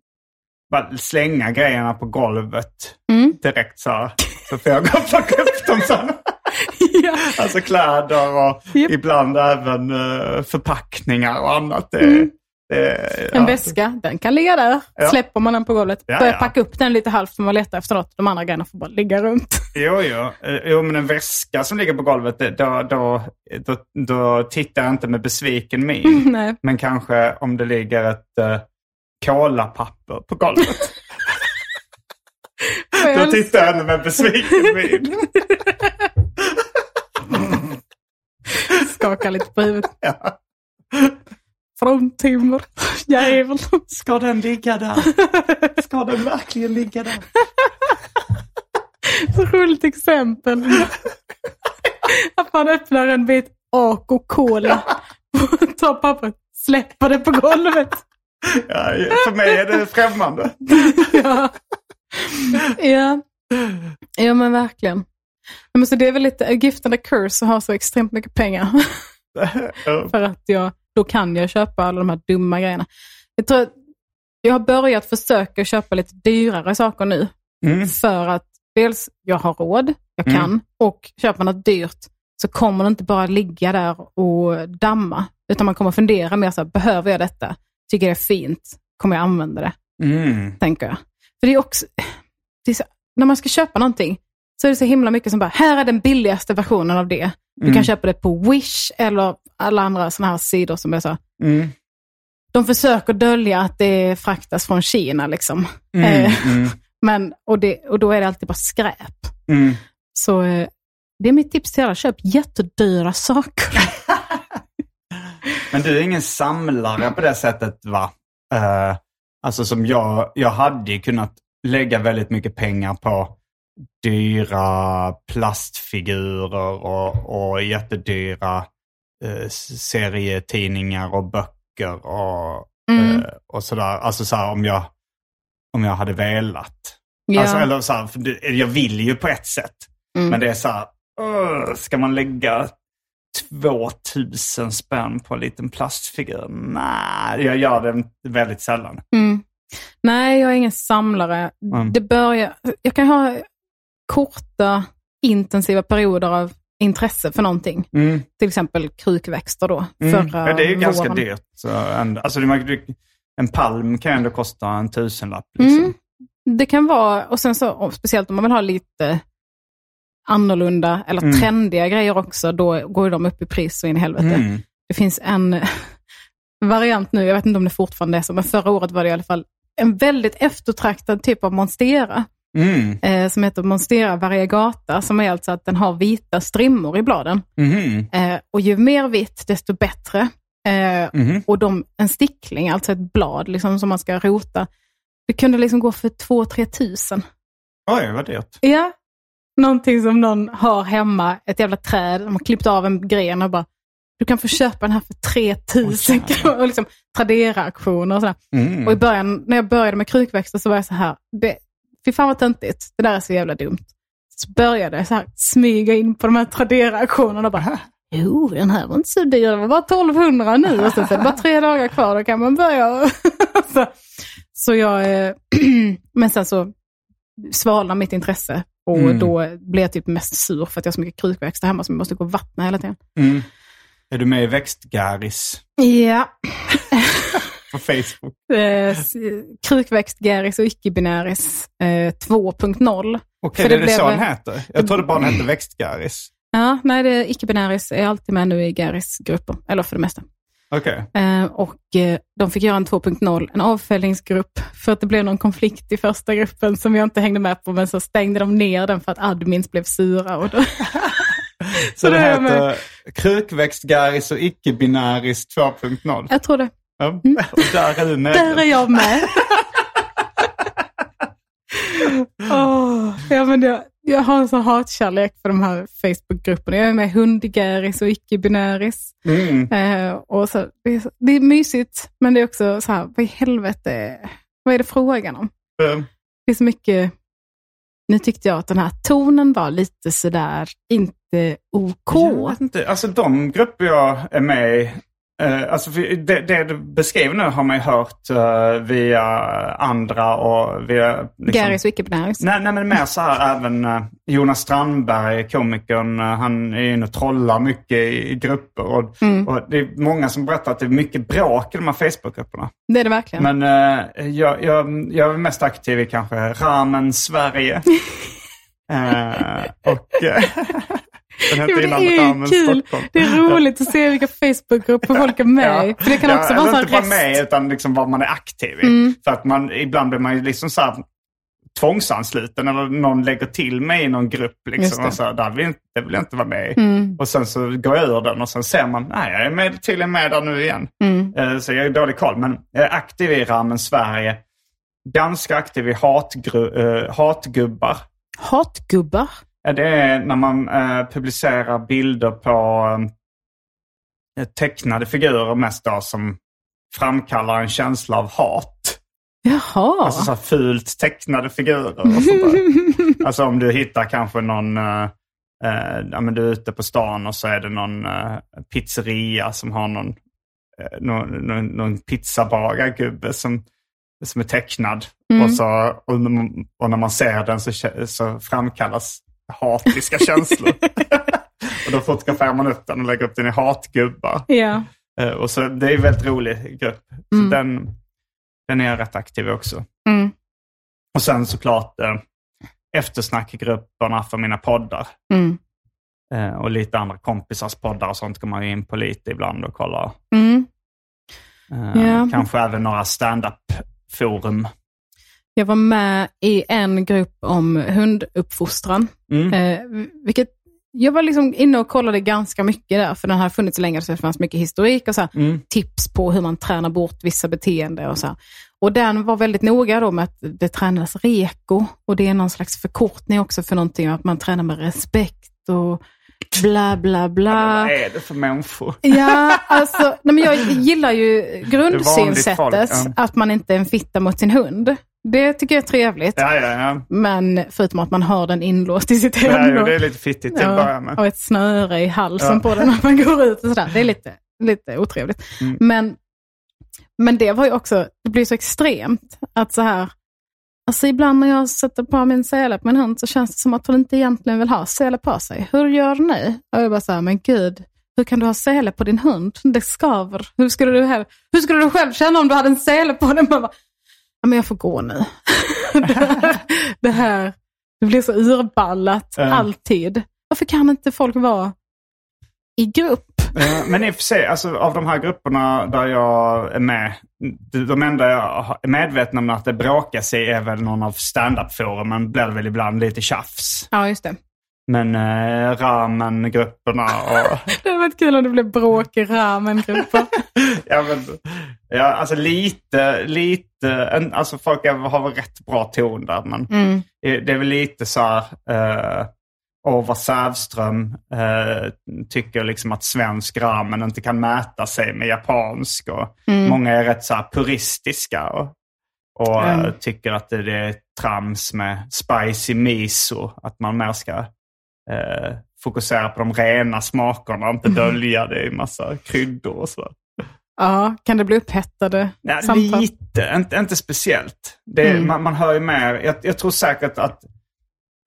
Speaker 2: bara slänga grejerna på golvet
Speaker 3: Mm.
Speaker 2: direkt så här. Så får jag gå och plocka upp dem
Speaker 3: [LAUGHS]
Speaker 2: sen.
Speaker 3: [LAUGHS] ja.
Speaker 2: Alltså kläder och
Speaker 3: Japp.
Speaker 2: ibland även eh, förpackningar och annat. Det, det,
Speaker 3: Mm. En
Speaker 2: ja.
Speaker 3: väska, den kan ligga där.
Speaker 2: Ja.
Speaker 3: Släpper man den på golvet,
Speaker 2: Ja,
Speaker 3: börjar
Speaker 2: ja.
Speaker 3: packa upp den lite halvt för man letar efter något. De andra grejerna får bara ligga runt. [LAUGHS]
Speaker 2: Jo, jo. Eh, jo, men en väska som ligger på golvet, det- då, då, då, då tittar jag inte med besviken min.
Speaker 3: [LAUGHS] Nej.
Speaker 2: Men kanske om det ligger ett uh, kolapapper på golvet.
Speaker 3: Får jag
Speaker 2: Då
Speaker 3: [LAUGHS] äls-
Speaker 2: tittar jag med besviken min.
Speaker 3: Skakar lite
Speaker 2: [LAUGHS]
Speaker 3: på huvudet. [LAUGHS] Frontimmer, jävel.
Speaker 2: Ska den ligga där? Ska den verkligen ligga där?
Speaker 3: Så roligt exempel. Att man öppnar en bit AK-cola, tar pappret, släpper det på golvet.
Speaker 2: Ja, för mig är det främmande.
Speaker 3: ja. ja. Ja, men verkligen. Men så det är väl lite a gift and a curse att ha så extremt mycket pengar.
Speaker 2: Ja.
Speaker 3: För att jag, då kan jag köpa alla de här dumma grejerna. Jag, tror, att jag har börjat försöka köpa lite dyrare saker nu.
Speaker 2: Mm.
Speaker 3: För att dels jag har råd, jag kan, och köper något dyrt så kommer det inte bara ligga där och damma. Utan man kommer fundera mer så här, behöver jag detta? Tycker jag det är fint? Kommer jag använda det?
Speaker 2: Mm.
Speaker 3: tänker jag. För det är också, det är så, när man ska köpa någonting så är det så himla mycket som bara, här är den billigaste versionen av det. Du
Speaker 2: Mm.
Speaker 3: kan köpa det på Wish eller alla andra sådana här sidor som är så.
Speaker 2: Mm.
Speaker 3: De försöker dölja att det fraktas från Kina liksom.
Speaker 2: Mm.
Speaker 3: Eh,
Speaker 2: Mm.
Speaker 3: men, och, det, och då är det alltid bara skräp.
Speaker 2: Mm.
Speaker 3: Så eh, det är mitt tips till alla, köp
Speaker 2: [LAUGHS]
Speaker 3: jättedyra saker.
Speaker 2: Men du är ingen samlare på det sättet va? Eh, alltså som jag, jag hade ju kunnat lägga väldigt mycket pengar på dyra plastfigurer och, och jättedyra eh, serietidningar och böcker och,
Speaker 3: Mm.
Speaker 2: eh, och sådär. Alltså så här, om jag, om jag hade velat.
Speaker 3: Ja.
Speaker 2: Alltså, eller så här, för det- jag vill ju på ett sätt.
Speaker 3: Mm.
Speaker 2: Men det är så här, "Åh, ska man lägga 2000 spänn på en liten plastfigur? Nej, jag gör det väldigt sällan.
Speaker 3: Mm. Nej, jag är ingen samlare.
Speaker 2: Mm.
Speaker 3: Det börjar, jag kan ha korta intensiva perioder av intresse för någonting.
Speaker 2: Mm,
Speaker 3: Till exempel krukväxter då. Förra
Speaker 2: Ja, det är ju ganska
Speaker 3: våren.
Speaker 2: dyrt. Så ändå, alltså det, man- du- en palm kan ju ändå kosta en tusenlapp. Liksom.
Speaker 3: Mm. Det kan vara, och sen så och speciellt om man vill ha lite annorlunda eller
Speaker 2: Mm.
Speaker 3: trendiga grejer också, då går ju de upp i pris så in i helvete.
Speaker 2: Mm.
Speaker 3: Det finns en [LAUGHS] variant nu, jag vet inte om det fortfarande är så, men förra året var det i alla fall en väldigt eftertraktad typ av monstera,
Speaker 2: Mm.
Speaker 3: eh, som heter monstera variegata, som är alltså att den har vita strimmor i bladen.
Speaker 2: Mhm.
Speaker 3: Eh, och ju mer vitt, desto bättre. Eh,
Speaker 2: Mhm.
Speaker 3: och de, en stickling, alltså ett blad liksom, som man ska rota, det kunde liksom gå för 2-3 tusen.
Speaker 2: Oj, vad dyrt.
Speaker 3: Ja. Någonting som någon har hemma, ett jävla träd, de har klippt av en gren och bara, du kan få köpa den här för 3000 kronor. Och liksom Tradera-auktioner och sådär.
Speaker 2: Mm.
Speaker 3: Och i början, när jag började med krukväxter så var jag så här, det, fy fan vad töntigt, det där är så jävla dumt. Så började jag så här, smyga in på de här Tradera-auktionerna och bara, jo den här var inte så dyr, det var bara 1200 nu och sen så är det bara tre dagar kvar, då kan man börja. [LAUGHS] så, så jag, eh, [CLEARS THROAT] men sen så svalnar mitt intresse och
Speaker 2: Mm.
Speaker 3: då blir jag typ mest sur för att jag har så mycket krukväxter hemma som jag måste gå och vattna hela tiden.
Speaker 2: Mm. Är du med i Växtgaris
Speaker 3: Ja,
Speaker 2: på Facebook?
Speaker 3: eh, s- krukväxtgäris och icke-binäris eh, 2.0.
Speaker 2: Okej, det
Speaker 3: För det
Speaker 2: är det
Speaker 3: blev-
Speaker 2: så den heter? Jag trodde bara den hette Växtgaris.
Speaker 3: Ja, nej, det, icke-binäris är alltid med nu i gärisgrupper, eller för det mesta.
Speaker 2: Okej.
Speaker 3: Eh, och eh, de fick göra en 2.0, en avföljningsgrupp, för att det blev någon konflikt i första gruppen som jag inte hängde med på, men så stängde de ner den för att admins blev sura. Och då...
Speaker 2: Så det
Speaker 3: då är jag med.
Speaker 2: heter Krukväxtgaris och icke-binaris 2.0.
Speaker 3: Jag tror det.
Speaker 2: Ja. Och där
Speaker 3: [LAUGHS]
Speaker 2: är du
Speaker 3: Alltså, mm. Där är
Speaker 2: medlem.
Speaker 3: jag med. [LAUGHS] Åh, ja, men jag, jag har en sån hatkärlek för de här Facebookgrupperna. Jag är med i hundgäris och icke-binäris.
Speaker 2: Mm.
Speaker 3: Eh, och så, det, är, så- det är mysigt, men det är också så här, vad i helvete, vad är det frågan om?
Speaker 2: Eh,
Speaker 3: Det är så mycket, nu tyckte jag att den här tonen var lite sådär, inte OK.
Speaker 2: Jag vet inte. Alltså de grupper jag är med i, eh, alltså för det, det du beskrev nu har man ju hört eh, via andra och via... Liksom,
Speaker 3: Gäris och icke-binäris.
Speaker 2: Nej, nej, men mer så här även eh, Jonas Strandberg, komikern, eh, han är inne och trollar mycket i, i grupper. Och,
Speaker 3: Mm.
Speaker 2: och det är många som berättar att det är mycket bråk i de här Facebookgrupperna.
Speaker 3: Det är det verkligen.
Speaker 2: Men eh, jag, jag, jag är mest aktiv i kanske Ramen
Speaker 3: [LAUGHS]
Speaker 2: Sverige. Eh, och eh, [LAUGHS] den heter
Speaker 3: Jo, det
Speaker 2: innan
Speaker 3: är
Speaker 2: Ramen
Speaker 3: ju kul.
Speaker 2: Stockholm.
Speaker 3: Det är roligt att se
Speaker 2: [LAUGHS]
Speaker 3: vilka Facebookgrupper folk är med i. För det kan
Speaker 2: Ja,
Speaker 3: också
Speaker 2: eller
Speaker 3: vara en
Speaker 2: inte bara
Speaker 3: sån här
Speaker 2: med
Speaker 3: rest.
Speaker 2: utan liksom vad man är aktiv i.
Speaker 3: Mm.
Speaker 2: För att man, ibland blir man ju liksom så här tvångsansluten eller någon lägger till mig i någon grupp.
Speaker 3: Just
Speaker 2: Liksom,
Speaker 3: det. Mm.
Speaker 2: och så här, där vill, inte- det vill jag inte vara med i. Och sen så går jag ur den och sen ser man, nej jag är med, tydligen med där nu igen.
Speaker 3: Mm.
Speaker 2: Eh, Så jag är dålig koll. Men jag är aktiv i Ramen Sverige. Ganska aktiv i hatgru- eh, hatgubbar.
Speaker 3: Hatgubbar.
Speaker 2: Ja, Det är när man eh, publicerar bilder på eh, tecknade figurer mest då, som framkallar en känsla av hat.
Speaker 3: Jaha.
Speaker 2: Alltså så här fult tecknade figurer och sånt där. Alltså om du hittar kanske någon, eh, eh, ja, men du är ute på stan och så är det någon eh, pizzeria som har någon, eh, någon, någon, någon pizzabagargubbe som, som är tecknad. Och, så, och, när man- och när man ser den så, kä- så framkallas hatiska känslor. [LAUGHS] och då fotograferar man upp den och lägger upp den i hatgubbar.
Speaker 3: ja.
Speaker 2: Eh, Och så, det är en väldigt rolig grupp. Så den, den är jag rätt aktiv i också.
Speaker 3: Mm.
Speaker 2: Och sen såklart eh, eftersnackgrupperna för mina poddar.
Speaker 3: Mm.
Speaker 2: Eh, och lite andra kompisars poddar och sånt går man ju in på lite ibland och kollar.
Speaker 3: Mm.
Speaker 2: Eh,
Speaker 3: Ja.
Speaker 2: Kanske även några stand-up-forum.
Speaker 3: Jag var med i en grupp om hunduppfostran.
Speaker 2: Mm.
Speaker 3: Eh, vilket, jag var liksom inne och kollade ganska mycket där, för den har funnits så länge så det fanns mycket historik och så här,
Speaker 2: Mm.
Speaker 3: tips på hur man tränar bort vissa beteenden. Och, så här. och den var väldigt noga då med att det tränas reko och det är någon slags förkortning också för någonting, att man tränar med respekt och bla bla bla.
Speaker 2: Vad är det för människor?
Speaker 3: Ja, alltså, nej, men jag gillar ju
Speaker 2: Det är vanligt
Speaker 3: grundsynsättet,
Speaker 2: folk,
Speaker 3: att man inte är en fitta mot sin hund. Det tycker jag är trevligt.
Speaker 2: Ja, ja, ja.
Speaker 3: Men förutom att man har den inlåst i sitt
Speaker 2: Det,
Speaker 3: hem.
Speaker 2: är, ju-
Speaker 3: och-
Speaker 2: det är lite fittigt till att börja med.
Speaker 3: och ett snöre i halsen
Speaker 2: Ja.
Speaker 3: på den när man går ut och sådär. Det är lite, lite otrevligt.
Speaker 2: Mm.
Speaker 3: Men, men det var ju också, det blir så extremt att så här, Alltså ibland när jag sätter på min sele på min hund så känns det som att hon inte egentligen vill ha sele på sig. Hur gör ni? Och jag bara så här, men gud, hur kan du ha sele på din hund? Det skaver. Hur skulle du, här, hur skulle du själv känna om du hade en sele på dig? Man bara, ja, men jag får gå nu. [LAUGHS] det, här, det här, det blir så urballat
Speaker 2: Ja.
Speaker 3: alltid. Varför kan inte folk vara i grupp?
Speaker 2: Ja, Men i och för sig, alltså, av de här grupperna där jag är med, de enda jag är medveten om att det bråkar sig är väl någon av standup-forumen, blir det väl ibland lite tjafs.
Speaker 3: Ja, just det.
Speaker 2: Men eh, Ramen-grupperna och...
Speaker 3: Det hade varit kul om det blev bråk i typ. [LAUGHS] ramen-grupper.
Speaker 2: [LAUGHS] ja, men, ja, alltså lite, lite, en, alltså folk är, har väl rätt bra ton där. Men
Speaker 3: Mm.
Speaker 2: eh, det är väl lite så här, eh, och vad Sävström eh, tycker liksom att svensk ramen inte kan mäta sig med japansk. Och
Speaker 3: Mm.
Speaker 2: Många är rätt så här puristiska och, och eh,
Speaker 3: Mm.
Speaker 2: tycker att det, det är trams med spicy miso. Att man mer ska eh, fokusera på de rena smakerna och inte
Speaker 3: Mm.
Speaker 2: dölja det i massa kryddor och sådär.
Speaker 3: Ja, kan det bli upphettade
Speaker 2: Nej,
Speaker 3: samtal?
Speaker 2: lite. Inte, inte speciellt. Det,
Speaker 3: Mm.
Speaker 2: man, man hör ju mer. Jag, jag tror säkert att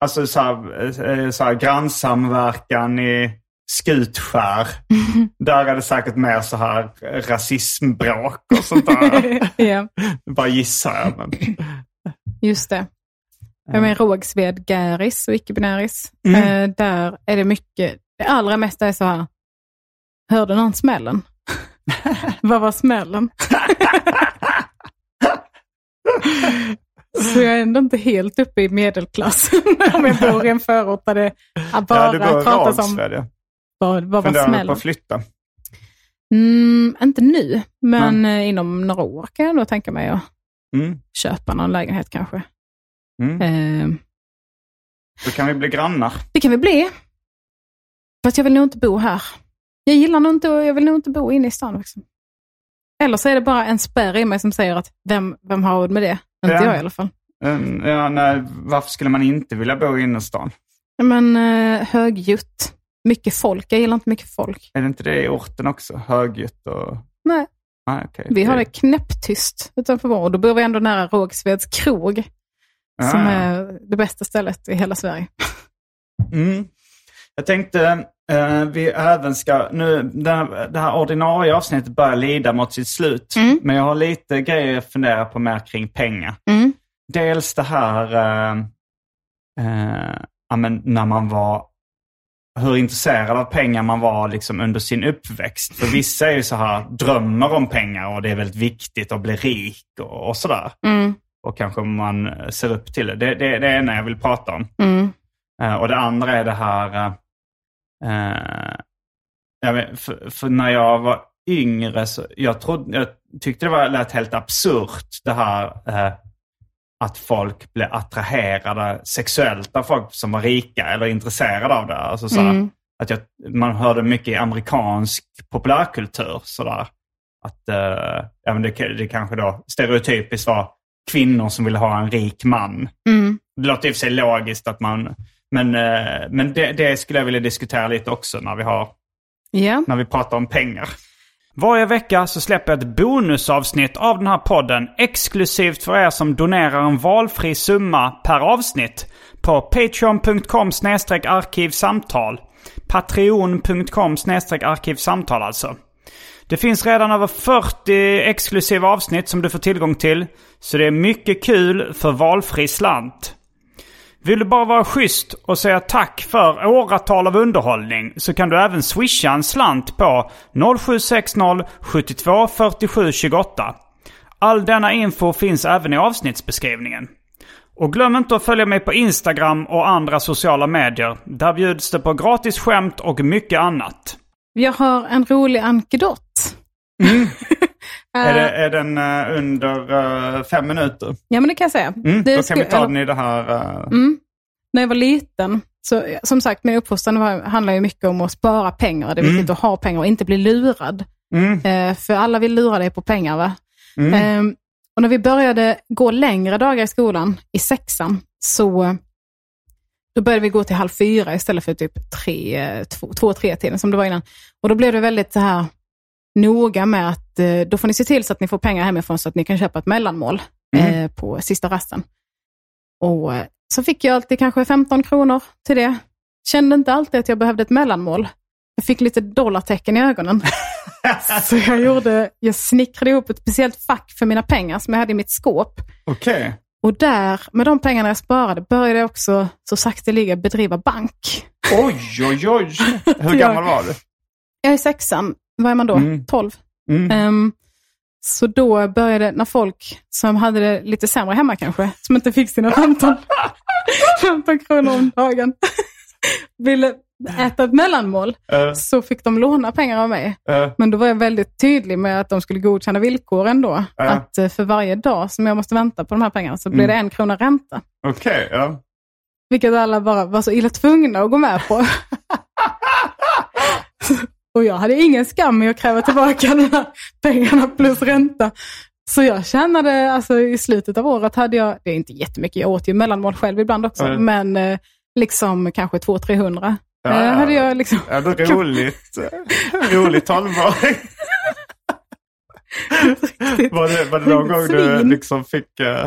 Speaker 2: alltså, så här, eh, så här, grannsamverkan i
Speaker 3: [LAUGHS]
Speaker 2: Skutskär, där är det säkert mer så här rasismbråk och sånt
Speaker 3: [LAUGHS]
Speaker 2: där.
Speaker 3: ja,
Speaker 2: Bara gissar jag. Men,
Speaker 3: just det. Jag menar
Speaker 2: Mm.
Speaker 3: Rågsved, Gäris och icke-binäris. Eh, där är det mycket, det allra mesta är så här, hörde
Speaker 2: [LAUGHS]
Speaker 3: någon smällen? Vad var smällen? Så jag är ändå inte helt uppe i medelklassen [LAUGHS] om jag bor i en förort där det bara
Speaker 2: ja, du bor i
Speaker 3: pratas om
Speaker 2: Rågsved. ja.
Speaker 3: vad, vad var
Speaker 2: Funderar du på
Speaker 3: smällen.
Speaker 2: att flytta?
Speaker 3: Mm, inte nu, men eh, inom några år kan jag nog tänka mig att
Speaker 2: Mm.
Speaker 3: köpa någon lägenhet kanske.
Speaker 2: Mm.
Speaker 3: Eh,
Speaker 2: Då kan vi bli grannar.
Speaker 3: det kan vi bli. Fast jag vill nog inte bo här. Jag gillar nog inte, jag vill nog inte bo inne i stan. Liksom. Eller så är det bara en spärr i mig som säger att vem, vem har råd med det? Inte
Speaker 2: Ja.
Speaker 3: jag i alla fall.
Speaker 2: Mm, ja, nej, varför skulle man inte vilja bo i innerstan?
Speaker 3: Men eh, högljutt. Mycket folk. Jag gillar inte mycket folk.
Speaker 2: Är det inte det i orten också? Högljutt och...
Speaker 3: Nej,
Speaker 2: Nej, okej.
Speaker 3: vi har det knäpptyst utanför vår. Och då bor vi ändå nära Rågsveds krog,
Speaker 2: Ah.
Speaker 3: som är det bästa stället i hela Sverige.
Speaker 2: Mm. Jag tänkte eh, vi även ska, nu det här, det här ordinarie avsnittet börjar lida mot sitt slut. Men jag har lite grejer jag funderar på mer kring pengar.
Speaker 3: Mm.
Speaker 2: Dels det här, eh, eh, ja, men när man var, hur intresserad av pengar man var liksom under sin uppväxt. För vissa är ju så här, drömmer om pengar och det är väldigt viktigt att bli rik och, och sådär.
Speaker 3: Mm.
Speaker 2: Och kanske man ser upp till det. Det, det, det är ena jag vill prata om.
Speaker 3: Mm.
Speaker 2: Eh, Och det andra är det här... eh, eh, ja, men för, för när jag var yngre så jag, trodde, jag tyckte det var, lät helt absurt det här eh, att folk blev attraherade sexuellt av folk som var rika eller intresserade av det. Alltså, så här, att jag, man hörde mycket i amerikansk populärkultur. sådär att eh, ja, men det, det kanske då stereotypiskt var kvinnor som ville ha en rik man.
Speaker 3: Mm.
Speaker 2: Det låter i och för sig logiskt att man... Men, eh, men det, det skulle jag vilja diskutera lite också när vi, har,
Speaker 3: Ja.
Speaker 2: när vi pratar om pengar.
Speaker 4: Varje vecka så släpper jag ett bonusavsnitt av den här podden exklusivt för er som donerar en valfri summa per avsnitt på patreon.com arkivsamtal. Patreon.com arkivsamtal alltså. Det finns redan över 40 exklusiva avsnitt som du får tillgång till. Så det är mycket kul för valfri slant. Vill du bara vara schysst och säga tack för åratal av underhållning så kan du även swisha en slant på 0760 72 47 28. All denna info finns även i avsnittsbeskrivningen. Och glöm inte att följa mig på Instagram och andra sociala medier. Där bjuds det på gratis skämt och mycket annat.
Speaker 3: Jag har en rolig Eh, ankedott.
Speaker 2: Mm.
Speaker 3: [LAUGHS]
Speaker 2: Är, det, är den eh, under eh, fem minuter?
Speaker 3: Ja, men det kan jag säga.
Speaker 2: Mm,
Speaker 3: Det
Speaker 2: då kan
Speaker 3: skulle-
Speaker 2: vi ta den i det här... eh,
Speaker 3: Mm. När jag var liten, så, som sagt, min uppfostran var, handlar ju mycket om att spara pengar. Det är viktigt att ha pengar och inte bli lurad.
Speaker 4: Mm.
Speaker 3: Eh, för alla vill lura dig på pengar. va? Eh, och när vi började gå längre dagar i skolan, i sexan, så då började vi gå till halv fyra istället för typ tre, eh, två, två tre tiden som det var innan. Och då blev det väldigt så här noga med att eh, då får ni se till så att ni får pengar hemifrån så att ni kan köpa ett mellanmål eh, på sista rasten. Och eh, så fick jag alltid kanske 15 kronor till det. Kände inte alltid att jag behövde ett mellanmål. Jag fick lite dollartecken i ögonen. så jag, gjorde, jag snickrade ihop ett speciellt fack för mina pengar som jag hade i mitt skåp.
Speaker 2: [LAUGHS] Okej.
Speaker 3: Och där, med de pengarna jag sparade, började jag också så sakteliga bedriva bank.
Speaker 2: Oj,
Speaker 4: [LAUGHS]
Speaker 2: oj, oj. Hur
Speaker 3: Jag-
Speaker 2: gammal var du?
Speaker 3: Jag är sexan. Vad är man då?
Speaker 2: Mm.
Speaker 3: 12.
Speaker 2: Mm.
Speaker 3: Ehm, så då började, när folk som hade det lite sämre hemma kanske, som inte fick
Speaker 2: [LAUGHS]
Speaker 3: sina 15, 15 kronor om dagen, [LAUGHS] ville äta ett mellanmål,
Speaker 2: Eh,
Speaker 3: så fick de låna pengar av mig.
Speaker 2: eh,
Speaker 3: Men då var jag väldigt tydlig med att de skulle godkänna villkoren då.
Speaker 2: Ja.
Speaker 3: Att eh, för varje dag som jag måste vänta på de här pengarna så blir
Speaker 2: Mm.
Speaker 3: det en krona ränta.
Speaker 2: Okej, ja.
Speaker 3: Vilket alla bara var så illa tvungna att gå med
Speaker 2: [LAUGHS]
Speaker 3: på. och jag hade ingen skam i att kräva tillbaka de här pengarna plus ränta. Så jag tjänade, alltså i slutet av året hade jag, det är inte jättemycket, jag åt ju mellanmål själv ibland också,
Speaker 2: Ja.
Speaker 3: men eh, liksom kanske 200-300.
Speaker 2: Ja.
Speaker 3: Eh, hade jag liksom,
Speaker 2: Ja, det är
Speaker 3: [LAUGHS]
Speaker 2: roligt. roligt tolvåring. var, det, var det någon gång du
Speaker 3: Svin.
Speaker 2: liksom fick... eh,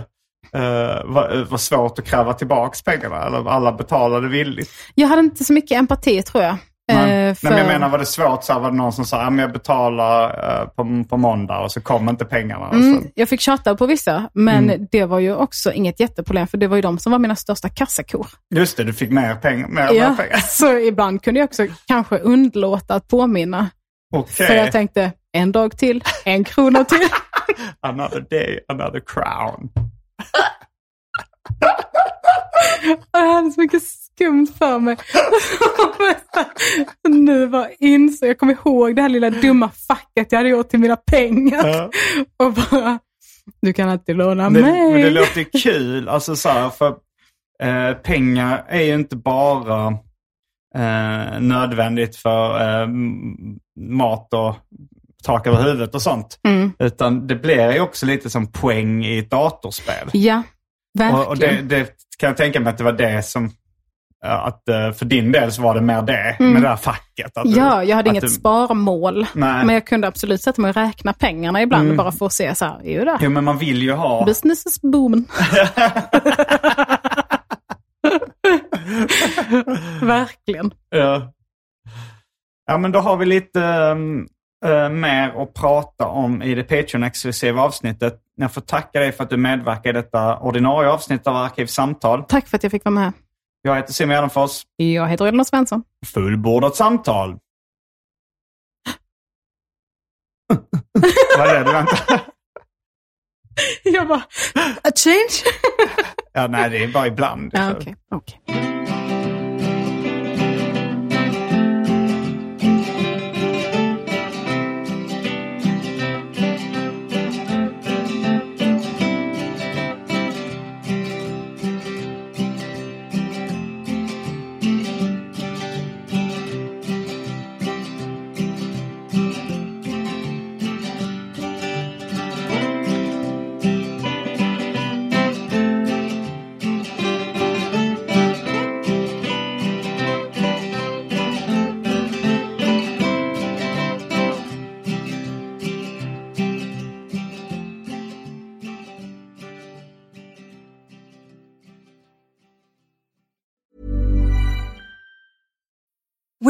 Speaker 2: eh, var, eh, var svårt att kräva tillbaks pengarna? Eller alla betalade villigt?
Speaker 3: jag hade inte så mycket empati tror jag.
Speaker 2: Men,
Speaker 3: Eh, för-
Speaker 2: Nej, men jag menar, var det svårt så här, var det någon som sa att jag betalar eh, på, på måndag och så kom inte pengarna? och
Speaker 3: Mm,
Speaker 2: sen-
Speaker 3: jag fick tjata på vissa, men
Speaker 2: Mm.
Speaker 3: det var ju också inget jätteproblem, för det var ju de som var mina största kassakor.
Speaker 2: Just det, du fick mer pengar. Mer, mer
Speaker 3: Ja,
Speaker 2: pengar.
Speaker 3: så ibland kunde jag också kanske undlåta att påminna.
Speaker 2: Okej,
Speaker 3: För jag tänkte, en dag till, en
Speaker 2: [LAUGHS]
Speaker 3: krona till.
Speaker 2: another day, another crown.
Speaker 3: Och jag hade så mycket skumt för mig. [LAUGHS] nu var insåg, jag kommer ihåg det här lilla dumma facket jag hade gjort till mina pengar.
Speaker 2: Ja.
Speaker 3: Och bara, du kan alltid låna
Speaker 2: Men,
Speaker 3: mig.
Speaker 2: men det låter ju kul, alltså så här, för eh, pengar är ju inte bara eh, nödvändigt för eh, m- mat och tak över huvudet och sånt.
Speaker 3: Mm.
Speaker 2: Utan det blir ju också lite som poäng i ett datorspel.
Speaker 3: Ja, verkligen.
Speaker 2: Och, och det, det kan jag tänka mig att det var det som, eh, att eh, för din del så var det mer det, med det här facket. Att du-
Speaker 3: Mm. Ja, jag hade
Speaker 2: att
Speaker 3: inget
Speaker 2: du- Mm.
Speaker 3: sparmål.
Speaker 2: Nej.
Speaker 3: Men jag kunde absolut sätta mig och räkna pengarna ibland bara för att se så här, ju där.
Speaker 2: Jo, men man vill ju ha...
Speaker 3: Business is booming. Verkligen.
Speaker 2: Ja. ja, men då har vi lite ehm, eh, mer att prata om i det Patreon-exklusiva avsnittet. Jag får tacka dig för att du medverkar i detta ordinarie avsnitt av Arkivsamtal.
Speaker 3: Tack för att jag fick vara med.
Speaker 2: Jag heter Simon Gärdenfors.
Speaker 3: Jag heter Elinor Svensson.
Speaker 2: Fullbordat
Speaker 3: [LAUGHS]
Speaker 2: samtal. Vad är det? Vänta.
Speaker 3: Jag bara, a change?
Speaker 2: Ja, nej, det är bara ibland.
Speaker 3: ja, okej. okej.